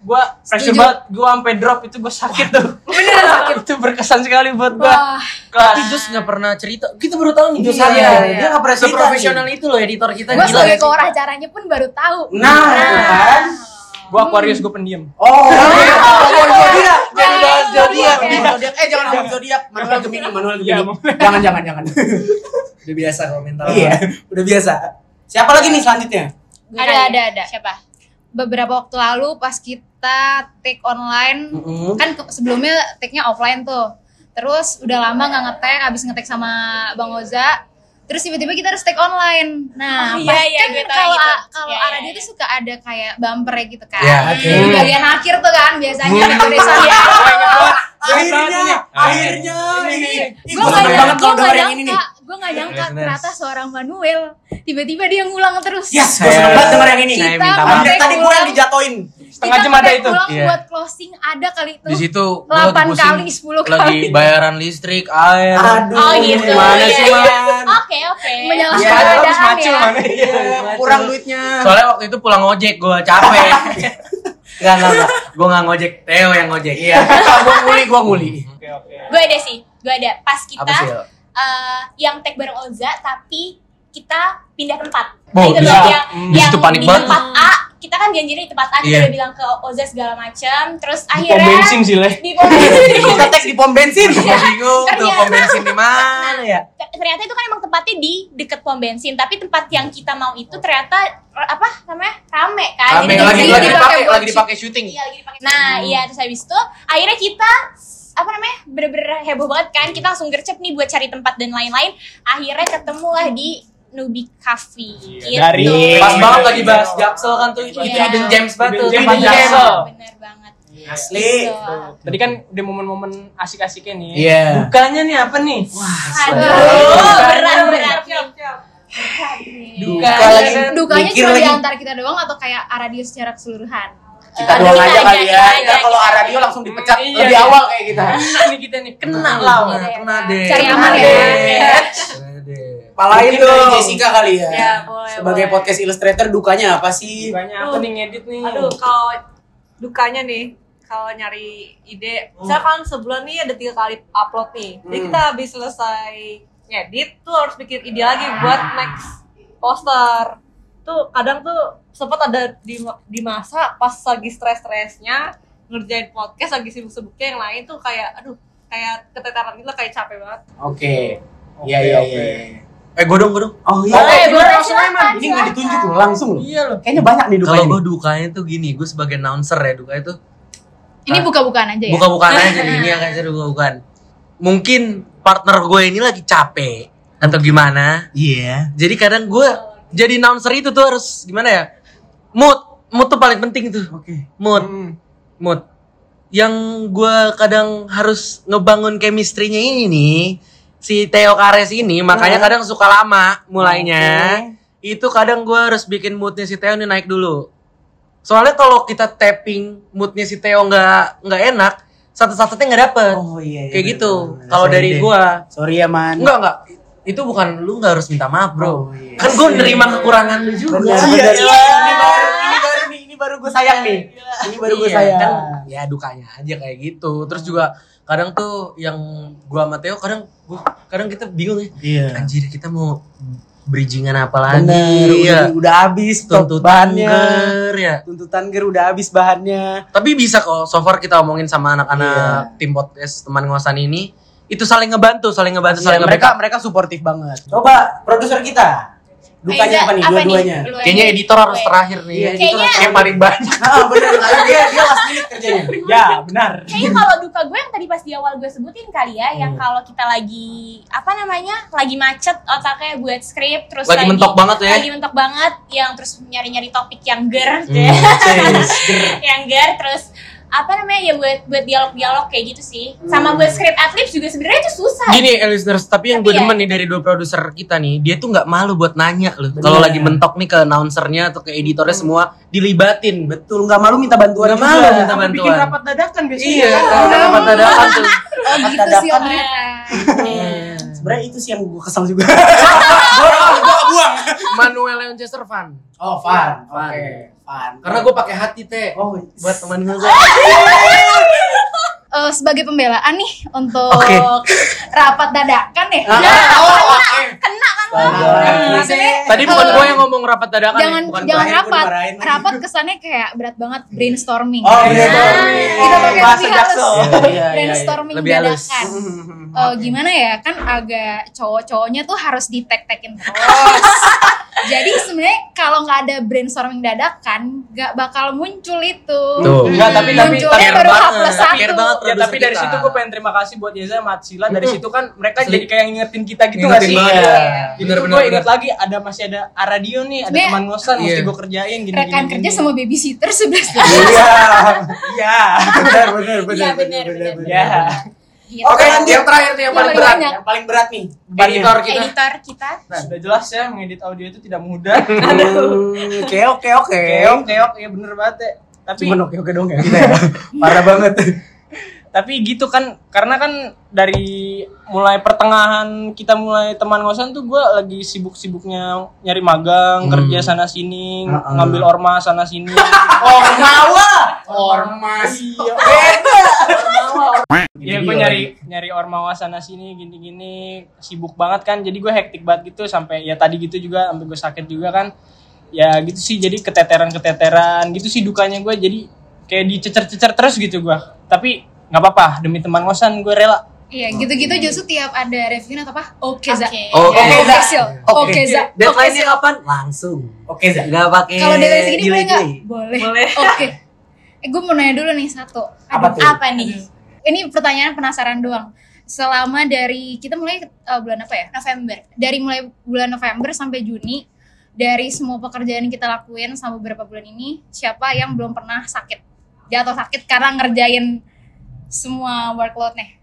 [SPEAKER 3] gua pressure
[SPEAKER 1] Setuju.
[SPEAKER 3] banget gua sampai drop itu gua sakit tuh beneran sakit itu berkesan sekali buat gua
[SPEAKER 1] Wah,
[SPEAKER 5] Tapi Jus nggak pernah cerita. Kita baru tahu nih Jus
[SPEAKER 6] Iya,
[SPEAKER 5] ada.
[SPEAKER 6] iya.
[SPEAKER 5] Dia nggak pernah cerita. Profesional itu loh editor
[SPEAKER 1] gue
[SPEAKER 5] kita. gila.
[SPEAKER 1] sebagai keluar acaranya pun baru tahu.
[SPEAKER 6] Nah, itu kan.
[SPEAKER 3] gua Aquarius gua pendiam
[SPEAKER 6] Oh, zodiak.
[SPEAKER 5] Jangan bahas
[SPEAKER 6] Zodiak.
[SPEAKER 5] zodiak.
[SPEAKER 6] Zodiak. Eh jangan ngomong zodiak. Manuel Gemini, Manuel
[SPEAKER 3] Iya,
[SPEAKER 6] Gemini. Jangan jangan jangan.
[SPEAKER 5] Udah biasa komentar.
[SPEAKER 6] Iya, udah biasa. Siapa lagi nih selanjutnya?
[SPEAKER 1] Ada, ada, ada.
[SPEAKER 8] Siapa?
[SPEAKER 1] beberapa waktu lalu pas kita take online kan ke- sebelumnya take-nya offline tuh terus udah lama nggak ngetek abis ngetek sama bang Oza terus tiba-tiba kita harus take online nah
[SPEAKER 8] Oh,
[SPEAKER 1] pas-
[SPEAKER 8] iya, iya,
[SPEAKER 1] kan
[SPEAKER 8] gue tahu
[SPEAKER 1] kalau
[SPEAKER 8] itu.
[SPEAKER 1] kalau
[SPEAKER 8] Iya,
[SPEAKER 1] Aradi
[SPEAKER 8] iya,
[SPEAKER 1] tuh suka ada kayak bumper gitu kan
[SPEAKER 5] Iya,
[SPEAKER 6] oke.
[SPEAKER 1] Di bagian akhir tuh kan biasanya ada tulisan
[SPEAKER 6] Akhirnya, akhirnya ini.
[SPEAKER 1] gue gak nyangka,
[SPEAKER 5] seneng banget kalau
[SPEAKER 1] gue gak
[SPEAKER 5] denger yang ini
[SPEAKER 1] nyangka, gue gak nyangka
[SPEAKER 5] Bener, bener.
[SPEAKER 1] ternyata seorang Manuel tiba-tiba dia ngulang terus.
[SPEAKER 6] Yes, gue seneng banget denger yang ini.
[SPEAKER 5] Saya
[SPEAKER 1] Kita
[SPEAKER 5] minta maaf.
[SPEAKER 1] sampai
[SPEAKER 6] Tadi gue
[SPEAKER 1] pulang,
[SPEAKER 6] yang dijatoin.
[SPEAKER 1] kita
[SPEAKER 3] Setengah jam ada
[SPEAKER 1] sampai
[SPEAKER 3] itu.
[SPEAKER 1] pulang
[SPEAKER 5] Iya.
[SPEAKER 1] buat closing ada kali itu.
[SPEAKER 5] Di situ gua lagi
[SPEAKER 1] 8
[SPEAKER 5] pusing,
[SPEAKER 1] kali, 10
[SPEAKER 5] lagi
[SPEAKER 1] kali.
[SPEAKER 5] bayaran listrik, air.
[SPEAKER 6] Aduh,
[SPEAKER 8] Oh, gitu.
[SPEAKER 6] gimana
[SPEAKER 8] Iya,
[SPEAKER 6] sih,
[SPEAKER 8] iya.
[SPEAKER 6] Man?
[SPEAKER 8] Oke, oke.
[SPEAKER 1] Menyalahkan
[SPEAKER 6] Iya,
[SPEAKER 3] Padahal habis
[SPEAKER 1] keadaan
[SPEAKER 3] macul
[SPEAKER 1] ya.
[SPEAKER 7] Oh,
[SPEAKER 3] mana ya.
[SPEAKER 6] Iya, Kurang duitnya.
[SPEAKER 5] Soalnya waktu itu pulang ojek gua capek. Enggak, enggak, enggak. Gua enggak ngojek, Theo yang ngojek. Iya. gua nguli, gua nguli.
[SPEAKER 3] Oke, oke.
[SPEAKER 8] Gue ada sih, gue ada. Pas
[SPEAKER 5] Apa sih?
[SPEAKER 8] kita eh, yang tag bareng Oza, tapi kita pindah tempat.
[SPEAKER 5] Oh,
[SPEAKER 8] Itu
[SPEAKER 5] di
[SPEAKER 8] loh,
[SPEAKER 5] situ-
[SPEAKER 8] yang,
[SPEAKER 5] di
[SPEAKER 8] yang
[SPEAKER 5] situ panik
[SPEAKER 8] di
[SPEAKER 5] banget.
[SPEAKER 8] tempat A, kita kan janjinya di tempat A, kita
[SPEAKER 5] Iya.
[SPEAKER 8] udah bilang ke Oza segala macam. Terus
[SPEAKER 3] Di
[SPEAKER 8] akhirnya
[SPEAKER 3] pom bensin sih, Le.
[SPEAKER 8] di pom bensin.
[SPEAKER 1] Iya.
[SPEAKER 6] Kita tag di pom bensin.
[SPEAKER 5] Gua bingung tuh
[SPEAKER 8] Ternyata-
[SPEAKER 5] pom bensin di mana ya?
[SPEAKER 8] Ter- ternyata itu kan emang tempatnya di deket pom bensin tapi tempat yang kita mau itu ternyata eh, apa namanya rame
[SPEAKER 1] Nah,
[SPEAKER 8] kan
[SPEAKER 5] Rame
[SPEAKER 8] Jadi
[SPEAKER 5] lagi
[SPEAKER 8] di-
[SPEAKER 5] lagi
[SPEAKER 8] di-
[SPEAKER 5] dipakai,
[SPEAKER 1] buat
[SPEAKER 5] lagi dipakai syuting.
[SPEAKER 8] iya, lagi dipakai. nah iya terus habis itu akhirnya kita apa namanya bener-bener heboh banget kan kita langsung gercep nih buat cari tempat dan lain-lain akhirnya ketemulah di Nubi Cafe
[SPEAKER 6] Iya.
[SPEAKER 8] gitu.
[SPEAKER 3] dari-
[SPEAKER 5] Pas banget lagi bahas Jaksel kan tuh itu
[SPEAKER 8] Iya.
[SPEAKER 5] Hidden James banget tuh.
[SPEAKER 3] Hidden James,
[SPEAKER 5] tempat
[SPEAKER 8] Iya,
[SPEAKER 5] Jaksel.
[SPEAKER 8] bener banget
[SPEAKER 6] Asli.
[SPEAKER 8] Gitu.
[SPEAKER 3] Tadi kan di momen-momen asik-asiknya nih.
[SPEAKER 5] Iya.
[SPEAKER 3] Dukanya nih apa nih?
[SPEAKER 8] aduh berat berat
[SPEAKER 6] Duka lagi.
[SPEAKER 8] Iya.
[SPEAKER 5] ya.
[SPEAKER 1] Dukanya
[SPEAKER 6] mikir
[SPEAKER 1] cuma
[SPEAKER 6] lagi.
[SPEAKER 1] di antara kita doang atau kayak Aradio secara keseluruhan?
[SPEAKER 6] Kita
[SPEAKER 8] Eh,
[SPEAKER 6] doang
[SPEAKER 8] kita
[SPEAKER 6] aja
[SPEAKER 8] aja,
[SPEAKER 6] kali
[SPEAKER 8] kita
[SPEAKER 6] ya.
[SPEAKER 8] aja,
[SPEAKER 6] Kita kalau
[SPEAKER 8] kita
[SPEAKER 6] Aradio
[SPEAKER 8] aja.
[SPEAKER 6] langsung dipecat
[SPEAKER 3] Iya,
[SPEAKER 6] lebih
[SPEAKER 3] iya.
[SPEAKER 6] awal kayak kita.
[SPEAKER 5] Kena nih kita nih. Kena lah.
[SPEAKER 8] lah.
[SPEAKER 5] Kena deh.
[SPEAKER 1] Cari
[SPEAKER 5] Kena
[SPEAKER 1] aman ya.
[SPEAKER 5] deh.
[SPEAKER 8] Iya.
[SPEAKER 5] Kena deh.
[SPEAKER 6] Palain
[SPEAKER 3] Mungkin
[SPEAKER 6] dong
[SPEAKER 3] dari
[SPEAKER 6] Jessica kali ya.
[SPEAKER 7] Ya, boleh,
[SPEAKER 6] Sebagai
[SPEAKER 7] boleh.
[SPEAKER 6] podcast illustrator dukanya apa sih?
[SPEAKER 3] Dukanya apa
[SPEAKER 7] Aduh.
[SPEAKER 3] nih ngedit nih?
[SPEAKER 7] Aduh, kalau dukanya nih, kalau nyari ide, misalnya kan sebulan nih ada tiga kali upload nih. Jadi
[SPEAKER 6] Hmm.
[SPEAKER 7] kita habis selesai ngedit tuh harus bikin ide lagi buat next poster. Tuh kadang tuh sempat ada di, di masa pas lagi stres-stresnya ngerjain podcast lagi sibuk-sibuknya yang lain tuh kayak aduh kayak keteteran gitu lah, kayak capek banget.
[SPEAKER 6] Oke.
[SPEAKER 3] Oke,
[SPEAKER 6] Iya iya
[SPEAKER 3] oke.
[SPEAKER 6] iya.
[SPEAKER 5] Eh, gue dong, gue dong.
[SPEAKER 6] Oh iya.
[SPEAKER 8] Boleh,
[SPEAKER 6] Eh,
[SPEAKER 8] boleh,
[SPEAKER 6] langsung aja, Man. Ini
[SPEAKER 8] silakan,
[SPEAKER 6] nggak
[SPEAKER 8] silakan.
[SPEAKER 6] ditunjuk loh langsung loh.
[SPEAKER 3] Iya loh.
[SPEAKER 6] Kayaknya banyak nih dukanya.
[SPEAKER 5] Kalau gue
[SPEAKER 6] nih.
[SPEAKER 5] dukanya tuh gini, gue sebagai announcer ya dukanya tuh
[SPEAKER 1] Ini
[SPEAKER 5] Hah?
[SPEAKER 1] buka-bukaan aja ya.
[SPEAKER 5] buka-bukaan aja nih, ini yang kayak seru buka-bukaan. Mungkin partner gue ini lagi capek atau gimana.
[SPEAKER 6] Iya.
[SPEAKER 5] Jadi kadang gue jadi announcer itu tuh harus gimana ya? Mood, mood tuh paling penting tuh.
[SPEAKER 6] Oke.
[SPEAKER 5] Mood,
[SPEAKER 6] Hmm.
[SPEAKER 5] mood. Yang gue kadang harus ngebangun chemistry-nya ini nih. Si Theo Kares ini makanya
[SPEAKER 6] Hmm.
[SPEAKER 5] kadang suka lama mulainya. itu kadang gue harus bikin moodnya si Theo nih naik dulu. Soalnya kalau kita tapping moodnya si Theo nggak nggak enak, satu-satunya nggak dapet.
[SPEAKER 6] Oke. Oh iya.
[SPEAKER 5] Kayak
[SPEAKER 6] iya, bener,
[SPEAKER 5] gitu.
[SPEAKER 6] bener, bener.
[SPEAKER 5] Kalau
[SPEAKER 6] Sorry
[SPEAKER 5] dari
[SPEAKER 6] deh.
[SPEAKER 5] gue,
[SPEAKER 6] Sorry ya man.
[SPEAKER 5] nggak nggak. Itu bukan lu nggak harus minta maaf bro.
[SPEAKER 6] Oh, iya.
[SPEAKER 5] Kan gue nerima kekurangan lu juga.
[SPEAKER 6] Bener, bener. Ini baru, ini baru nih, ini baru gue sayang nih. Ini baru gue
[SPEAKER 5] Iya,
[SPEAKER 6] sayang.
[SPEAKER 5] kan ya dukanya aja kayak gitu. Terus juga kadang tuh yang gue sama Theo kadang gua, kadang kita bingung ya.
[SPEAKER 6] Iya.
[SPEAKER 5] Anjir kita mau bridgingan apa lagi?
[SPEAKER 6] Bener,
[SPEAKER 5] ya?
[SPEAKER 6] udah, udah habis
[SPEAKER 5] Tuntutan
[SPEAKER 6] bahannya.
[SPEAKER 5] ger, ya.
[SPEAKER 6] Tuntutan ger udah habis bahannya.
[SPEAKER 5] Tapi bisa kok, so far kita omongin sama
[SPEAKER 6] Iya.
[SPEAKER 5] anak-anak tim podcast teman ngosan ini itu saling ngebantu, saling ngebantu,
[SPEAKER 6] Iya,
[SPEAKER 5] saling
[SPEAKER 6] mereka
[SPEAKER 5] ngebantu.
[SPEAKER 6] mereka suportif banget. Coba produser kita. Dukanya
[SPEAKER 8] Aiza,
[SPEAKER 6] apa nih dua-duanya?
[SPEAKER 8] Lu
[SPEAKER 5] Kayaknya
[SPEAKER 8] aja.
[SPEAKER 5] editor harus terakhir nih.
[SPEAKER 6] Iya,
[SPEAKER 8] Kayaknya-
[SPEAKER 5] Editor yang paling banyak.
[SPEAKER 6] Ah, bener, karena dia dia last minute kerjanya.
[SPEAKER 3] Ya, benar.
[SPEAKER 8] Kayaknya
[SPEAKER 5] Iya.
[SPEAKER 8] kalau duka gue yang tadi pas di awal gue sebutin kali ya, yang kalau kita lagi apa namanya, lagi macet otaknya buat skrip, terus
[SPEAKER 5] Lagi mentok banget ya. Hmm.
[SPEAKER 8] lagi mentok banget, yang terus nyari-nyari topik yang ger,
[SPEAKER 6] Iya.
[SPEAKER 5] Iya,
[SPEAKER 8] yang ger, terus apa namanya ya buat buat dialog-dialog kayak gitu sih, sama buat skrip adlibs juga sebenarnya itu susah.
[SPEAKER 5] Hmm. Gini eh, listeners, tapi yang gue
[SPEAKER 8] Tapi ya.
[SPEAKER 5] demen nih dari dua produser kita nih, dia tuh nggak malu buat nanya loh. Kalau lagi mentok nih ke announcernya atau ke editornya
[SPEAKER 1] Hmm.
[SPEAKER 5] semua dilibatin.
[SPEAKER 6] Betul, nggak malu minta bantuan
[SPEAKER 5] Nggak
[SPEAKER 6] juga.
[SPEAKER 5] malu minta
[SPEAKER 3] Sampai bikin
[SPEAKER 5] bantuan.
[SPEAKER 3] rapat dadakan biasanya.
[SPEAKER 5] Iya, karena mata dadakan tuh.
[SPEAKER 1] Oh gitu
[SPEAKER 6] Dadakan
[SPEAKER 8] Iya.
[SPEAKER 1] sih
[SPEAKER 6] ya.
[SPEAKER 1] Om.
[SPEAKER 3] Iya.
[SPEAKER 6] Sebenarnya itu sih yang gue kesel juga. gue gua buang.
[SPEAKER 5] Manuel Leonchester fan.
[SPEAKER 6] Oh, fun. Oke,
[SPEAKER 5] Fun.
[SPEAKER 6] fun.
[SPEAKER 5] Karena gue pakai hati teh
[SPEAKER 6] oh,
[SPEAKER 5] buat teman
[SPEAKER 3] iya.
[SPEAKER 5] gue.
[SPEAKER 1] Eh, sebagai pembelaan nih untuk
[SPEAKER 5] Oke.
[SPEAKER 1] rapat dadakan ya.
[SPEAKER 6] Ah,
[SPEAKER 1] Nah,
[SPEAKER 6] oh,
[SPEAKER 1] kena-
[SPEAKER 6] oke.
[SPEAKER 1] kena kan lo?
[SPEAKER 6] Sabar.
[SPEAKER 1] Maksudnya,
[SPEAKER 5] Tadi bukan
[SPEAKER 1] eh,
[SPEAKER 5] gue yang ngomong rapat dadakan,
[SPEAKER 1] jangan
[SPEAKER 5] ya, bukan
[SPEAKER 1] jangan
[SPEAKER 6] gua
[SPEAKER 1] rapat
[SPEAKER 6] dimarahin lagi.
[SPEAKER 1] rapat kesannya kayak berat banget brainstorming
[SPEAKER 6] Oh,
[SPEAKER 1] Nah,
[SPEAKER 6] brainstorming.
[SPEAKER 1] kita pakai kayak
[SPEAKER 3] bahasa
[SPEAKER 1] lebih
[SPEAKER 3] Jaksel.
[SPEAKER 1] halus.
[SPEAKER 6] Iya, iya, iya.
[SPEAKER 1] brainstorming
[SPEAKER 5] Lebih halus.
[SPEAKER 1] dadakan. Eh, gimana ya kan agak cowok-cowoknya tuh harus ditek-tekin terus. Jadi sebenarnya kalau nggak ada brainstorming dadakan, nggak bakal muncul itu.
[SPEAKER 5] Tuh.
[SPEAKER 3] Enggak, tapi tapi
[SPEAKER 1] Munculnya
[SPEAKER 3] tapi
[SPEAKER 1] baru H
[SPEAKER 5] banget,
[SPEAKER 1] plus satu.
[SPEAKER 5] care banget
[SPEAKER 3] Ya,
[SPEAKER 5] produser
[SPEAKER 3] tapi dari
[SPEAKER 5] kita.
[SPEAKER 3] situ gue pengen terima kasih buat Yeza sama Atsila. Dari situ kan mereka
[SPEAKER 5] Sli-
[SPEAKER 3] jadi kayak ngingetin kita gitu
[SPEAKER 5] Hmm. Ngingetin
[SPEAKER 3] nggak sih?
[SPEAKER 5] banget.
[SPEAKER 3] Iya. Jadi
[SPEAKER 5] Bener,
[SPEAKER 3] gue
[SPEAKER 5] bener,
[SPEAKER 3] inget
[SPEAKER 5] bener.
[SPEAKER 3] lagi ada masih ada Aradio nih, ada
[SPEAKER 1] Iya.
[SPEAKER 3] teman ngosan mesti
[SPEAKER 5] Iya.
[SPEAKER 3] gue kerjain gini
[SPEAKER 1] Rekan
[SPEAKER 3] gini,
[SPEAKER 1] kerja
[SPEAKER 3] gini.
[SPEAKER 1] sama babysitter sebelas
[SPEAKER 6] Iya.
[SPEAKER 3] Iya.
[SPEAKER 6] Benar, benar, benar.
[SPEAKER 8] Iya, benar, benar,
[SPEAKER 3] Iya.
[SPEAKER 1] gitu.
[SPEAKER 6] Oke, yang terakhir nih yang
[SPEAKER 1] Yang
[SPEAKER 6] paling
[SPEAKER 1] paling
[SPEAKER 6] berat.
[SPEAKER 1] banyak.
[SPEAKER 6] Yang paling berat nih. ya.
[SPEAKER 3] Banyak.
[SPEAKER 6] Editor kita.
[SPEAKER 8] Editor kita.
[SPEAKER 3] Sudah jelas ya mengedit audio itu tidak mudah.
[SPEAKER 6] Hmm, Keok, keok, keok.
[SPEAKER 3] Keok keok ya bener banget. ya. Tapi
[SPEAKER 6] Cuman oke-oke dong ya kita ya. Parah banget.
[SPEAKER 3] tapi gitu kan karena kan dari mulai pertengahan kita mulai teman ngosan tuh gue lagi sibuk-sibuknya nyari
[SPEAKER 5] Hmm.
[SPEAKER 3] magang kerja sana sini
[SPEAKER 6] Ha-ha.
[SPEAKER 3] ngambil ormas sana sini
[SPEAKER 6] Ormawa. Ormas.
[SPEAKER 3] ya gue nyari nyari ormawa sana sini gini-gini sibuk banget kan jadi gue hektik banget gitu sampai ya tadi gitu juga sampai gue sakit juga kan ya gitu sih jadi keteteran keteteran gitu sih dukanya gue jadi kayak dicecer-cecer terus gitu gue tapi nggak apa-apa demi teman ngosan gue rela
[SPEAKER 1] Iya, gitu-gitu justru tiap ada reviewin atau apa? Oke, Za.
[SPEAKER 8] Oke.
[SPEAKER 5] Oke.
[SPEAKER 1] Oke, Sil. Oke, Za. Oke,
[SPEAKER 9] Deadline-nya
[SPEAKER 1] Sil.
[SPEAKER 9] kapan? Langsung.
[SPEAKER 6] Oke, Zak.
[SPEAKER 9] Enggak pakai.
[SPEAKER 1] Kalau dari segini boleh nggak?
[SPEAKER 9] delay-delay.
[SPEAKER 1] Boleh.
[SPEAKER 7] Boleh.
[SPEAKER 1] Oke. Eh, gue mau nanya dulu nih satu.
[SPEAKER 6] Apa tuh?
[SPEAKER 8] Apa nih?
[SPEAKER 1] Ini pertanyaan penasaran doang. Selama dari kita mulai eh, bulan apa ya?
[SPEAKER 8] November.
[SPEAKER 1] Dari mulai bulan November sampai Juni dari semua pekerjaan yang kita lakuin sama beberapa bulan ini, siapa yang belum pernah sakit? Jatuh sakit karena ngerjain semua workload nih.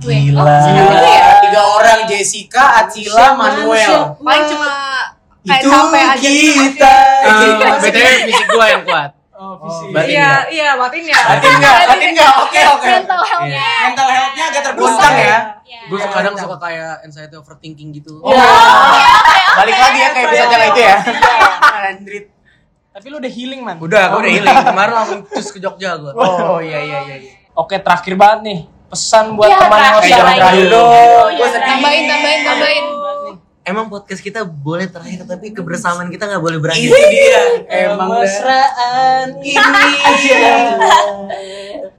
[SPEAKER 6] Gila.
[SPEAKER 1] Oh,
[SPEAKER 6] Iya.
[SPEAKER 1] ya?
[SPEAKER 6] Tiga orang Jessica, Atila, Manuel.
[SPEAKER 7] Paling cuma kayak
[SPEAKER 6] Itu
[SPEAKER 7] capek aja gitu.
[SPEAKER 6] kita.
[SPEAKER 5] Eh, BTW fisik gue yang kuat.
[SPEAKER 3] oh,
[SPEAKER 6] fisik.
[SPEAKER 5] Batin
[SPEAKER 7] Iya, iya, batin ya.
[SPEAKER 6] Batin enggak? Batin enggak? Oke, Eh, oke.
[SPEAKER 1] Mental Iya. health.
[SPEAKER 5] Iya.
[SPEAKER 6] Mental health-nya agak terguncang ya.
[SPEAKER 8] Ya.
[SPEAKER 5] Gue kadang suka kayak anxiety overthinking gitu.
[SPEAKER 6] Oh. Balik lagi ya kayak bisa jalan itu ya. Andrit.
[SPEAKER 3] Tapi lu udah healing man.
[SPEAKER 5] Udah, gue udah healing. Kemarin langsung cus ke Jogja gue.
[SPEAKER 6] Oh, iya iya iya. iya.
[SPEAKER 3] Oke terakhir banget nih pesan buat
[SPEAKER 1] Iya,
[SPEAKER 8] Ya,
[SPEAKER 3] teman yang
[SPEAKER 8] terakhir
[SPEAKER 6] Eh, jangan
[SPEAKER 8] lagi.
[SPEAKER 6] terakhir dong. Gua sedih.
[SPEAKER 1] Tambahin, tambahin, tambahin.
[SPEAKER 9] Emang podcast kita boleh terakhir tapi kebersamaan kita nggak boleh berakhir.
[SPEAKER 6] Itu gitu
[SPEAKER 5] Iya.
[SPEAKER 6] dia. Emang Iya. dah.
[SPEAKER 3] mesraan
[SPEAKER 1] Iya.
[SPEAKER 3] ini.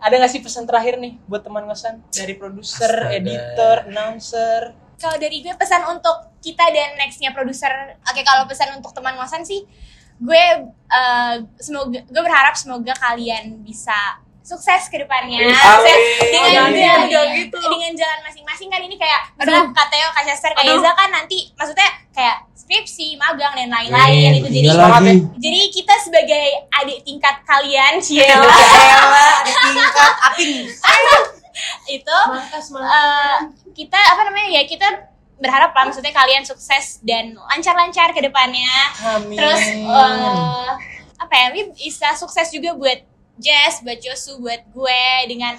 [SPEAKER 3] Ada nggak sih pesan terakhir nih buat teman ngosan dari produser,
[SPEAKER 5] Astaga.
[SPEAKER 3] editor, announcer?
[SPEAKER 8] Kalau dari gue pesan untuk kita dan nextnya produser, oke kalau pesan untuk teman ngosan sih, gue eh, semoga gue berharap semoga kalian bisa sukses ke depannya. Sukses dengan
[SPEAKER 7] Amin.
[SPEAKER 8] jalan
[SPEAKER 7] Jangan gitu.
[SPEAKER 8] dengan jalan masing-masing kan ini kayak
[SPEAKER 1] Aduh.
[SPEAKER 8] misalnya Kak Teo, Kak Chester, Kak
[SPEAKER 7] Aduh.
[SPEAKER 8] Yeza kan nanti maksudnya kayak skripsi, magang dan lain-lain itu jadi
[SPEAKER 3] lagi.
[SPEAKER 8] jadi kita sebagai adik tingkat kalian,
[SPEAKER 7] Iya.
[SPEAKER 6] Ya
[SPEAKER 8] Ciela
[SPEAKER 6] elah, ada tingkat acting.
[SPEAKER 8] itu eh, kita apa namanya ya kita berharap lah maksudnya kalian sukses dan lancar-lancar ke depannya
[SPEAKER 3] Amin.
[SPEAKER 8] terus eh, apa ya ini bisa sukses juga buat Jess buat Josu buat gue dengan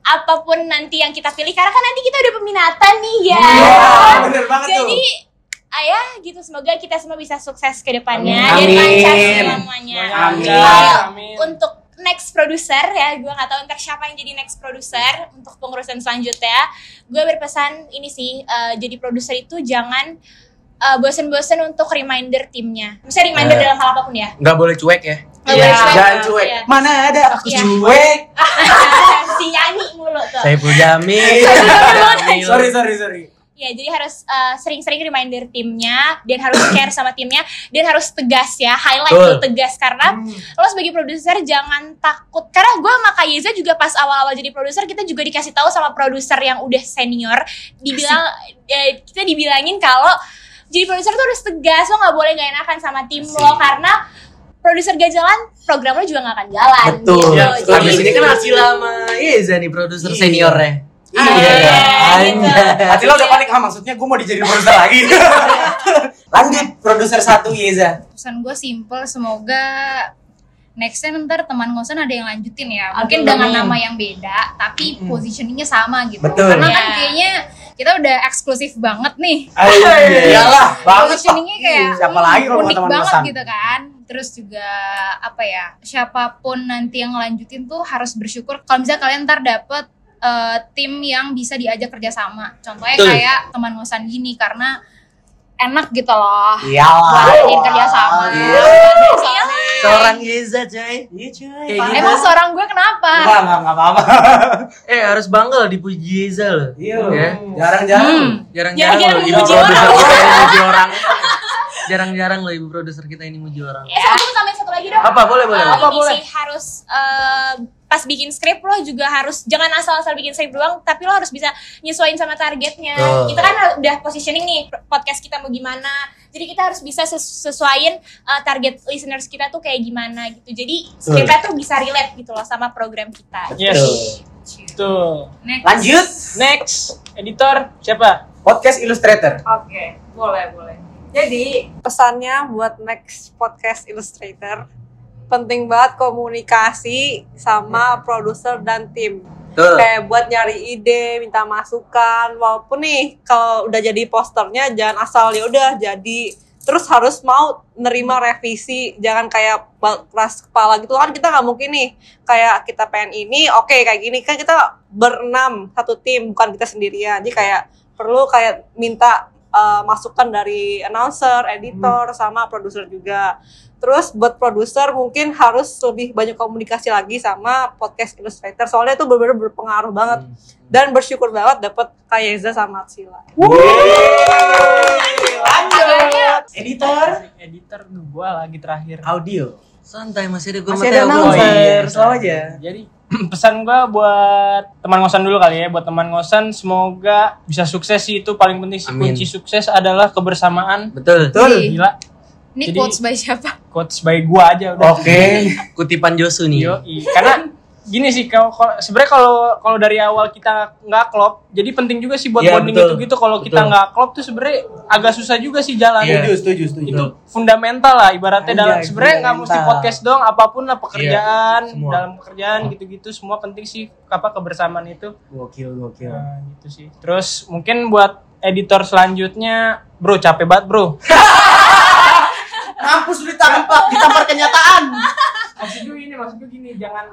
[SPEAKER 8] apapun nanti yang kita pilih karena kan nanti kita udah peminatan nih ya
[SPEAKER 6] Wah, Ah, bener banget tuh.
[SPEAKER 8] jadi ayah gitu semoga kita semua bisa sukses ke depannya
[SPEAKER 6] Amin.
[SPEAKER 8] dan lancar
[SPEAKER 6] Amin.
[SPEAKER 8] semuanya
[SPEAKER 3] Amin.
[SPEAKER 8] Kalau
[SPEAKER 3] Amin.
[SPEAKER 8] untuk next producer ya gue nggak tahu ntar siapa yang jadi next producer untuk pengurusan selanjutnya gue berpesan ini sih eh, jadi produser itu jangan eh, bosen-bosen untuk reminder timnya misalnya reminder
[SPEAKER 5] Eh.
[SPEAKER 8] dalam hal apapun ya
[SPEAKER 5] Nggak boleh cuek ya.
[SPEAKER 8] Nggak
[SPEAKER 6] Iya,
[SPEAKER 8] boleh cuek.
[SPEAKER 6] jangan cuek.
[SPEAKER 8] Iya.
[SPEAKER 6] Mana ada aku
[SPEAKER 8] Iya.
[SPEAKER 6] cuek.
[SPEAKER 8] si nyanyi mulu tuh
[SPEAKER 5] Saiful Jamil.
[SPEAKER 6] Sorry, sorry, sorry.
[SPEAKER 8] Ya, jadi harus uh, sering-sering reminder timnya dan harus care sama timnya dan harus tegas ya. Highlight
[SPEAKER 5] Betul.
[SPEAKER 8] tuh tegas karena lo sebagai produser jangan takut. Karena gue sama Kak Yeza juga pas awal-awal jadi produser kita juga dikasih tahu sama produser yang udah senior dibilang eh, kita dibilangin kalau jadi produser tuh harus tegas lo nggak boleh nggak enakan sama tim lo karena produser gak jalan program lo juga nggak akan jalan.
[SPEAKER 9] Betul.
[SPEAKER 8] Gitu.
[SPEAKER 1] Iya,
[SPEAKER 6] Ya,
[SPEAKER 8] Jadi,
[SPEAKER 9] Habis ini kan Asila sama Yeza nih produser
[SPEAKER 6] Iya.
[SPEAKER 9] seniornya.
[SPEAKER 8] Iya, gitu.
[SPEAKER 9] Anjay.
[SPEAKER 6] Atila udah panik, ah maksudnya gue mau dijadiin produser lagi. Lanjut, produser satu Yeza.
[SPEAKER 1] pesan gue simple semoga next time ntar teman ngosan ada yang lanjutin ya
[SPEAKER 7] Aduh,
[SPEAKER 1] mungkin dengan
[SPEAKER 6] amin.
[SPEAKER 1] nama yang beda tapi positioningnya sama gitu
[SPEAKER 6] Betul.
[SPEAKER 1] karena kan
[SPEAKER 8] Iya.
[SPEAKER 1] kayaknya kita udah eksklusif banget nih
[SPEAKER 6] Iya. Iyalah, banget.
[SPEAKER 1] positioningnya kayak
[SPEAKER 6] Iya. Siapa
[SPEAKER 1] hmm,
[SPEAKER 6] lagi kalau bukan
[SPEAKER 1] unik
[SPEAKER 6] teman
[SPEAKER 1] banget
[SPEAKER 6] ngosan?
[SPEAKER 1] gitu kan terus juga apa ya siapapun nanti yang lanjutin tuh harus bersyukur kalau misalnya kalian ntar dapet eh, tim yang bisa diajak kerjasama contohnya
[SPEAKER 5] Betul.
[SPEAKER 1] kayak teman ngosan gini karena enak gitu loh
[SPEAKER 6] Iyalah.
[SPEAKER 1] buat Iya. kerja sama
[SPEAKER 6] Iya.
[SPEAKER 1] Buat brainstorming.
[SPEAKER 5] Seorang Yeza coy.
[SPEAKER 6] Iya cuy.
[SPEAKER 5] Kayak
[SPEAKER 6] parah.
[SPEAKER 5] gitu.
[SPEAKER 10] Emang seorang gue kenapa?
[SPEAKER 6] Enggak, enggak, enggak apa-apa.
[SPEAKER 5] Eh harus bangga loh dipuji Yeza loh.
[SPEAKER 6] Iya loh.
[SPEAKER 5] Ya.
[SPEAKER 6] Jarang-jarang.
[SPEAKER 10] Hmm.
[SPEAKER 5] Jarang-jarang
[SPEAKER 8] Jarang-jarang
[SPEAKER 5] loh ibu
[SPEAKER 8] memuji
[SPEAKER 5] produser
[SPEAKER 8] orang.
[SPEAKER 5] kita ini muji orang. Jarang-jarang loh ibu produser kita ini muji orang.
[SPEAKER 8] Eh, sama gue tambahin satu lagi dong.
[SPEAKER 5] Apa boleh boleh.
[SPEAKER 8] Eh, ini sih harus eh, pas bikin skrip lo juga harus jangan asal-asal bikin skrip doang tapi lo harus bisa nyesuaiin sama targetnya
[SPEAKER 5] Betul.
[SPEAKER 8] kita kan udah positioning nih podcast kita mau gimana jadi kita harus bisa ses- sesuaiin eh, target listeners kita tuh kayak gimana gitu jadi skripnya tuh bisa relate gitu loh sama program kita Nah,
[SPEAKER 3] Yes.
[SPEAKER 7] Oke.
[SPEAKER 3] Tuh.
[SPEAKER 10] Next.
[SPEAKER 6] Lanjut.
[SPEAKER 3] Next, editor siapa?
[SPEAKER 6] Podcast Illustrator.
[SPEAKER 7] boleh, boleh. Jadi, pesannya buat next podcast Illustrator penting banget komunikasi sama produser dan tim.
[SPEAKER 5] Tuh.
[SPEAKER 7] Kayak buat nyari ide, minta masukan, walaupun nih kalau udah jadi posternya jangan asal ya udah jadi terus harus mau nerima revisi jangan kayak bal- keras kepala gitu kan kita nggak mungkin nih kayak kita pengen ini oke kayak gini kan kita berenam satu tim bukan kita sendirian jadi kayak perlu kayak minta uh, masukan dari announcer, editor, sama produser juga. Terus buat produser mungkin harus lebih banyak komunikasi lagi sama podcast illustrator. Soalnya itu benar-benar berpengaruh banget dan bersyukur banget dapat Kayeza sama Atsila.
[SPEAKER 10] Agaknya
[SPEAKER 6] Editor.
[SPEAKER 3] Editor gua lagi terakhir.
[SPEAKER 6] Audio.
[SPEAKER 5] Santai masih ada gue
[SPEAKER 6] Masih ada
[SPEAKER 3] gua.
[SPEAKER 6] announcer.
[SPEAKER 3] Iya.
[SPEAKER 6] Selalu aja.
[SPEAKER 3] Jadi pesan gua buat teman ngosan dulu kali ya, buat teman ngosan semoga bisa sukses sih itu paling penting sih
[SPEAKER 5] Amin.
[SPEAKER 3] kunci sukses adalah kebersamaan.
[SPEAKER 1] Iya.
[SPEAKER 5] Betul.
[SPEAKER 6] Betul.
[SPEAKER 10] Ih,
[SPEAKER 3] Gila,
[SPEAKER 10] ini
[SPEAKER 3] Jadi-
[SPEAKER 10] quotes by siapa?
[SPEAKER 3] quotes by gua aja udah.
[SPEAKER 5] Oh.
[SPEAKER 6] Oke.
[SPEAKER 5] Kutipan Josu nih.
[SPEAKER 3] Yoi. Karena gini sih kalau kalau- sebenarnya kalau kalau dari awal kita nggak klop, jadi penting juga sih buat
[SPEAKER 5] Iya,
[SPEAKER 3] bonding
[SPEAKER 5] betul.
[SPEAKER 3] itu gitu. Kalau kita
[SPEAKER 5] Betul.
[SPEAKER 3] nggak klop tuh sebenarnya agak susah juga sih jalan.
[SPEAKER 5] Iya.
[SPEAKER 6] Setuju, setuju, setuju.
[SPEAKER 3] Itu fundamental lah ibaratnya
[SPEAKER 6] Anjay,
[SPEAKER 3] dalam sebenarnya nggak mesti
[SPEAKER 6] fundamental.
[SPEAKER 3] podcast doang, apapun lah pekerjaan,
[SPEAKER 5] Iya, semua.
[SPEAKER 3] dalam pekerjaan gitu-gitu semua penting sih apa kebersamaan itu.
[SPEAKER 6] Gokil, gokil.
[SPEAKER 5] Iya.
[SPEAKER 3] Nah, gitu sih. Terus mungkin buat editor selanjutnya, bro capek banget bro.
[SPEAKER 6] Kampus lu ditampak, ditampar kenyataan.
[SPEAKER 3] maksud gue ini, maksud gue gini, jangan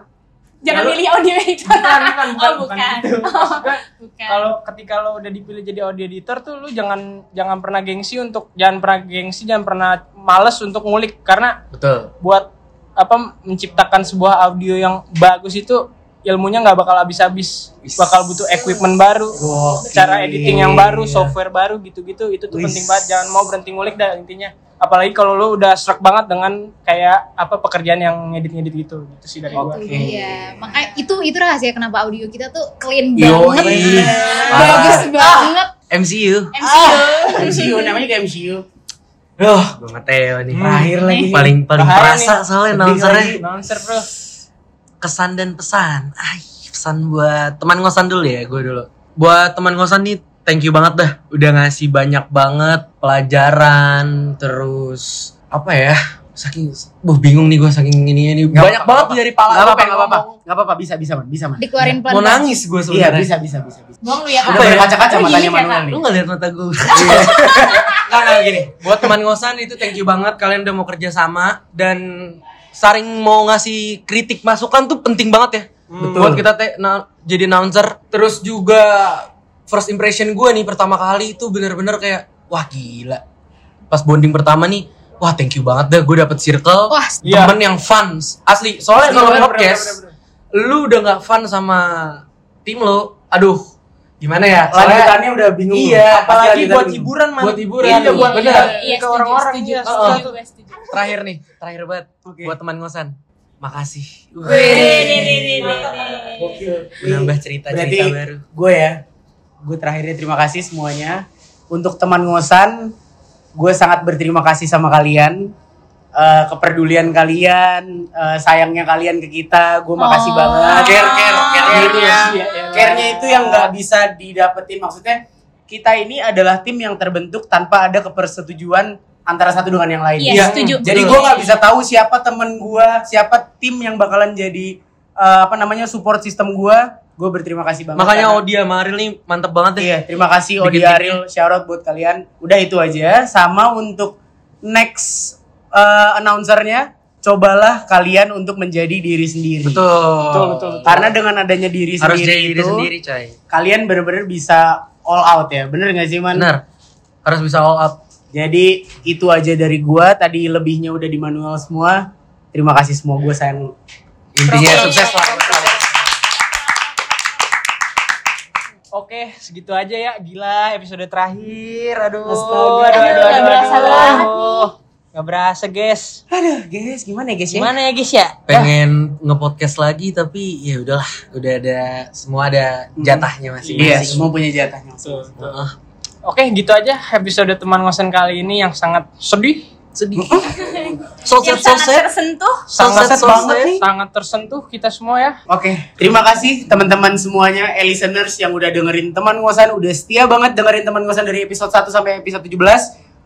[SPEAKER 8] jangan
[SPEAKER 3] Ya, lu-
[SPEAKER 8] milih audio editor
[SPEAKER 3] bukan bukan bukan,
[SPEAKER 8] Oh,
[SPEAKER 3] bukan
[SPEAKER 8] bukan.
[SPEAKER 3] gitu. Maksud gue,
[SPEAKER 8] bukan
[SPEAKER 3] Kalau ketika lo udah dipilih jadi audio editor tuh lu jangan jangan pernah gengsi untuk jangan pernah gengsi, jangan pernah males untuk ngulik karena
[SPEAKER 5] Betul.
[SPEAKER 3] buat apa menciptakan sebuah audio yang bagus itu ilmunya nggak bakal habis-habis bakal butuh equipment baru
[SPEAKER 6] Gokil. Iya.
[SPEAKER 3] cara editing yang baru software baru gitu-gitu itu tuh
[SPEAKER 6] Wis.
[SPEAKER 3] penting banget jangan mau berhenti ngulik dah intinya apalagi kalau lo udah serak banget dengan kayak apa pekerjaan yang ngedit-ngedit gitu gitu sih dari gua
[SPEAKER 6] Oke.
[SPEAKER 10] Iya, makanya itu itu rahasia kenapa audio kita tuh clean
[SPEAKER 5] Yoi. Ah.
[SPEAKER 10] banget,
[SPEAKER 5] Parah.
[SPEAKER 10] bagus banget.
[SPEAKER 5] MCU.
[SPEAKER 3] Ah.
[SPEAKER 6] MCU namanya kayak MCU.
[SPEAKER 5] Duh, gue Mateo nih.
[SPEAKER 6] Terakhir lagi.
[SPEAKER 5] Paling paling
[SPEAKER 3] Bahaya
[SPEAKER 5] perasa soalnya
[SPEAKER 6] Hmm.
[SPEAKER 3] nih.
[SPEAKER 6] Sedih
[SPEAKER 5] announcernya.
[SPEAKER 6] lagi.
[SPEAKER 3] Hmm. announcer bro
[SPEAKER 5] kesan dan pesan. Ay, pesan buat teman ngosan dulu ya, gue dulu. Buat teman ngosan nih, thank you banget dah. Udah ngasih banyak banget pelajaran, terus apa ya? Saking, buh bingung nih gue saking ini ini. banyak banget tuh dari pala.
[SPEAKER 6] Gak
[SPEAKER 5] gue
[SPEAKER 6] apa-apa,
[SPEAKER 5] pengen
[SPEAKER 6] gak apa-apa.
[SPEAKER 5] ngomong.
[SPEAKER 6] Gak apa-apa, bisa, bisa, man. Bisa, man.
[SPEAKER 10] Dikeluarin pelan
[SPEAKER 5] Mau nangis gue
[SPEAKER 6] Iya,
[SPEAKER 5] sebenarnya.
[SPEAKER 6] bisa, bisa, bisa, bisa.
[SPEAKER 10] Bohong lu ya.
[SPEAKER 6] Udah
[SPEAKER 10] Lu
[SPEAKER 6] berkaca-kaca
[SPEAKER 8] Iya,
[SPEAKER 6] matanya
[SPEAKER 10] gini ya,
[SPEAKER 6] Manuel nih.
[SPEAKER 5] Lu gak lihat mata gue? Enggak, enggak Iya. gini. Buat teman ngosan itu thank you banget kalian udah mau kerja sama dan saring mau ngasih kritik masukan tuh penting banget ya.
[SPEAKER 3] Hmm.
[SPEAKER 6] Betul.
[SPEAKER 5] Buat kita te- na- jadi announcer terus juga first impression gue nih pertama kali itu bener-bener kayak wah gila. Pas bonding pertama nih Wah thank you banget dah gue dapet circle
[SPEAKER 10] Wah,
[SPEAKER 3] iya.
[SPEAKER 5] temen yang fun asli soalnya
[SPEAKER 3] Asli,
[SPEAKER 5] kalau
[SPEAKER 3] bener,
[SPEAKER 5] podcast
[SPEAKER 3] bener,
[SPEAKER 5] lu udah nggak fun sama tim lo aduh gimana ya
[SPEAKER 6] Lanjutannya udah bingung.
[SPEAKER 5] Iya,
[SPEAKER 3] apalagi
[SPEAKER 6] Lanjutannya
[SPEAKER 3] buat
[SPEAKER 6] bingung.
[SPEAKER 3] hiburan man
[SPEAKER 5] Buat hiburan.
[SPEAKER 3] iya buat
[SPEAKER 5] Bener.
[SPEAKER 3] hiburan.
[SPEAKER 8] Iya,
[SPEAKER 3] ke
[SPEAKER 8] setuju,
[SPEAKER 3] orang-orang
[SPEAKER 8] setuju,
[SPEAKER 3] iya
[SPEAKER 8] setuju,
[SPEAKER 3] setuju.
[SPEAKER 8] gue setuju.
[SPEAKER 5] terakhir nih terakhir banget
[SPEAKER 6] Oke.
[SPEAKER 5] buat teman ngosan makasih
[SPEAKER 8] Wih, nih, nih, nih, nih, nih.
[SPEAKER 6] Gokil.
[SPEAKER 5] menambah cerita
[SPEAKER 6] Berarti
[SPEAKER 5] cerita baru
[SPEAKER 6] gue ya, gue terakhirnya terima kasih semuanya. Untuk teman ngosan, gue sangat berterima kasih sama kalian. Eh, kepedulian kalian, eh, sayangnya kalian ke kita, gue makasih
[SPEAKER 10] Oh.
[SPEAKER 6] banget.
[SPEAKER 5] Care, care, care.
[SPEAKER 6] Care-nya.
[SPEAKER 3] Iya, iya.
[SPEAKER 6] ya. Care-nya itu yang nggak bisa didapetin. Maksudnya kita ini adalah tim yang terbentuk tanpa ada kepersetujuan antara satu dengan yang lain.
[SPEAKER 8] Iya, setuju.
[SPEAKER 6] Jadi
[SPEAKER 5] Betul.
[SPEAKER 6] gue nggak bisa tahu siapa temen gue, siapa tim yang bakalan jadi eh, apa namanya support sistem gue. Gue berterima kasih banget.
[SPEAKER 5] makanya
[SPEAKER 6] karena-
[SPEAKER 5] Odia Maril nih mantep banget deh
[SPEAKER 6] Iya, terima kasih
[SPEAKER 5] Bikin
[SPEAKER 6] Odi
[SPEAKER 5] timnya.
[SPEAKER 6] Ariel, shout out buat kalian. Udah itu aja. Sama untuk next eh, announcernya, cobalah kalian untuk menjadi diri sendiri.
[SPEAKER 5] betul
[SPEAKER 3] Betul, betul, betul.
[SPEAKER 6] Karena dengan adanya diri
[SPEAKER 5] harus
[SPEAKER 6] sendiri
[SPEAKER 5] jadi diri
[SPEAKER 6] itu,
[SPEAKER 5] sendiri coy
[SPEAKER 6] kalian bener-bener bisa all out ya. Bener gak sih, Man?
[SPEAKER 5] benar harus bisa all up
[SPEAKER 6] Jadi itu aja dari gua. Tadi lebihnya udah di manual semua. terima kasih semua gue sayang
[SPEAKER 5] Intinya sukses lah.
[SPEAKER 3] Oke, segitu aja ya. Gila, episode terakhir. Aduh,
[SPEAKER 6] Astaga.
[SPEAKER 3] aduh, aduh,
[SPEAKER 8] Aduh, nggak
[SPEAKER 3] aduh,
[SPEAKER 8] berasa
[SPEAKER 3] aduh.
[SPEAKER 8] banget
[SPEAKER 3] Nggak berasa, guys.
[SPEAKER 6] aduh guys gimana ya guys ya
[SPEAKER 3] Gimana ya, guys ya?
[SPEAKER 5] Pengen ngepodcast lagi tapi ya udahlah, udah ada semua ada jatahnya
[SPEAKER 6] iya
[SPEAKER 5] masing-masing.
[SPEAKER 6] semua punya jatahnya
[SPEAKER 3] Tuh.
[SPEAKER 5] Heeh.
[SPEAKER 3] Oke, gitu aja episode teman ngosen kali ini yang sangat sedih,
[SPEAKER 5] Sedih.
[SPEAKER 8] yang Iya, sangat tersentuh.
[SPEAKER 3] sangat
[SPEAKER 6] Sangat banget nih.
[SPEAKER 3] sangat tersentuh kita semua ya.
[SPEAKER 6] Oke, terima kasih teman-teman semuanya, eh, listeners yang udah dengerin teman ngosan, udah setia banget dengerin teman ngosan dari episode 1 sampai episode 17.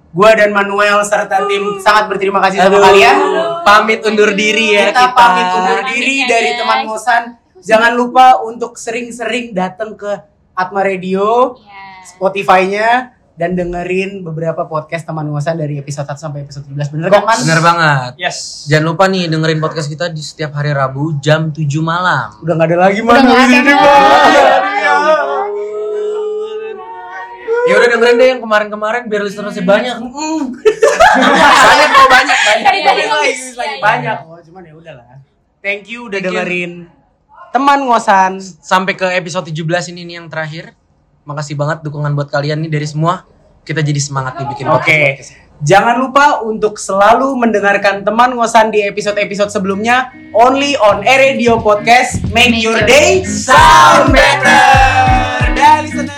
[SPEAKER 6] Gua dan Manuel serta tim sangat berterima kasih
[SPEAKER 5] ya.
[SPEAKER 6] sama kalian.
[SPEAKER 5] Pamit undur diri ya kita.
[SPEAKER 6] Kita pamit undur diri
[SPEAKER 8] Pamit ya,
[SPEAKER 6] dari
[SPEAKER 8] guys.
[SPEAKER 6] teman ngosan. Jangan lupa untuk sering-sering datang ke Atma Radio, Spotify-nya dan dengerin beberapa podcast teman ngosan dari episode 1 sampai episode 17. Bener kan, Man?
[SPEAKER 5] Bener banget.
[SPEAKER 3] Yes.
[SPEAKER 5] Jangan lupa nih dengerin podcast kita di setiap hari Rabu jam 7 malam.
[SPEAKER 6] Udah gak ada lagi, Man.
[SPEAKER 11] nggak ada,
[SPEAKER 6] Ini,
[SPEAKER 11] Man.
[SPEAKER 6] Man.
[SPEAKER 8] Iya.
[SPEAKER 6] Ya
[SPEAKER 5] Ya udah dengerin deh yang kemarin-kemarin biar listenersnya banyak.
[SPEAKER 6] banyak kok banyak banyak
[SPEAKER 8] Dari tadi
[SPEAKER 6] Banyak
[SPEAKER 8] habis,
[SPEAKER 6] lagi, lagi
[SPEAKER 8] ya, ya.
[SPEAKER 6] banyak oh cuman ya udahlah thank you udah
[SPEAKER 5] Thank you.
[SPEAKER 6] dengerin teman ngosan
[SPEAKER 5] Sampai ke episode 17 ini nih yang terakhir. Makasih banget dukungan buat kalian nih dari semua. Kita jadi semangat nih bikin
[SPEAKER 6] oke jangan lupa untuk selalu mendengarkan teman ngosan di episode episode sebelumnya only on Air Radio Podcast make, your day sound better dari
[SPEAKER 8] Nah,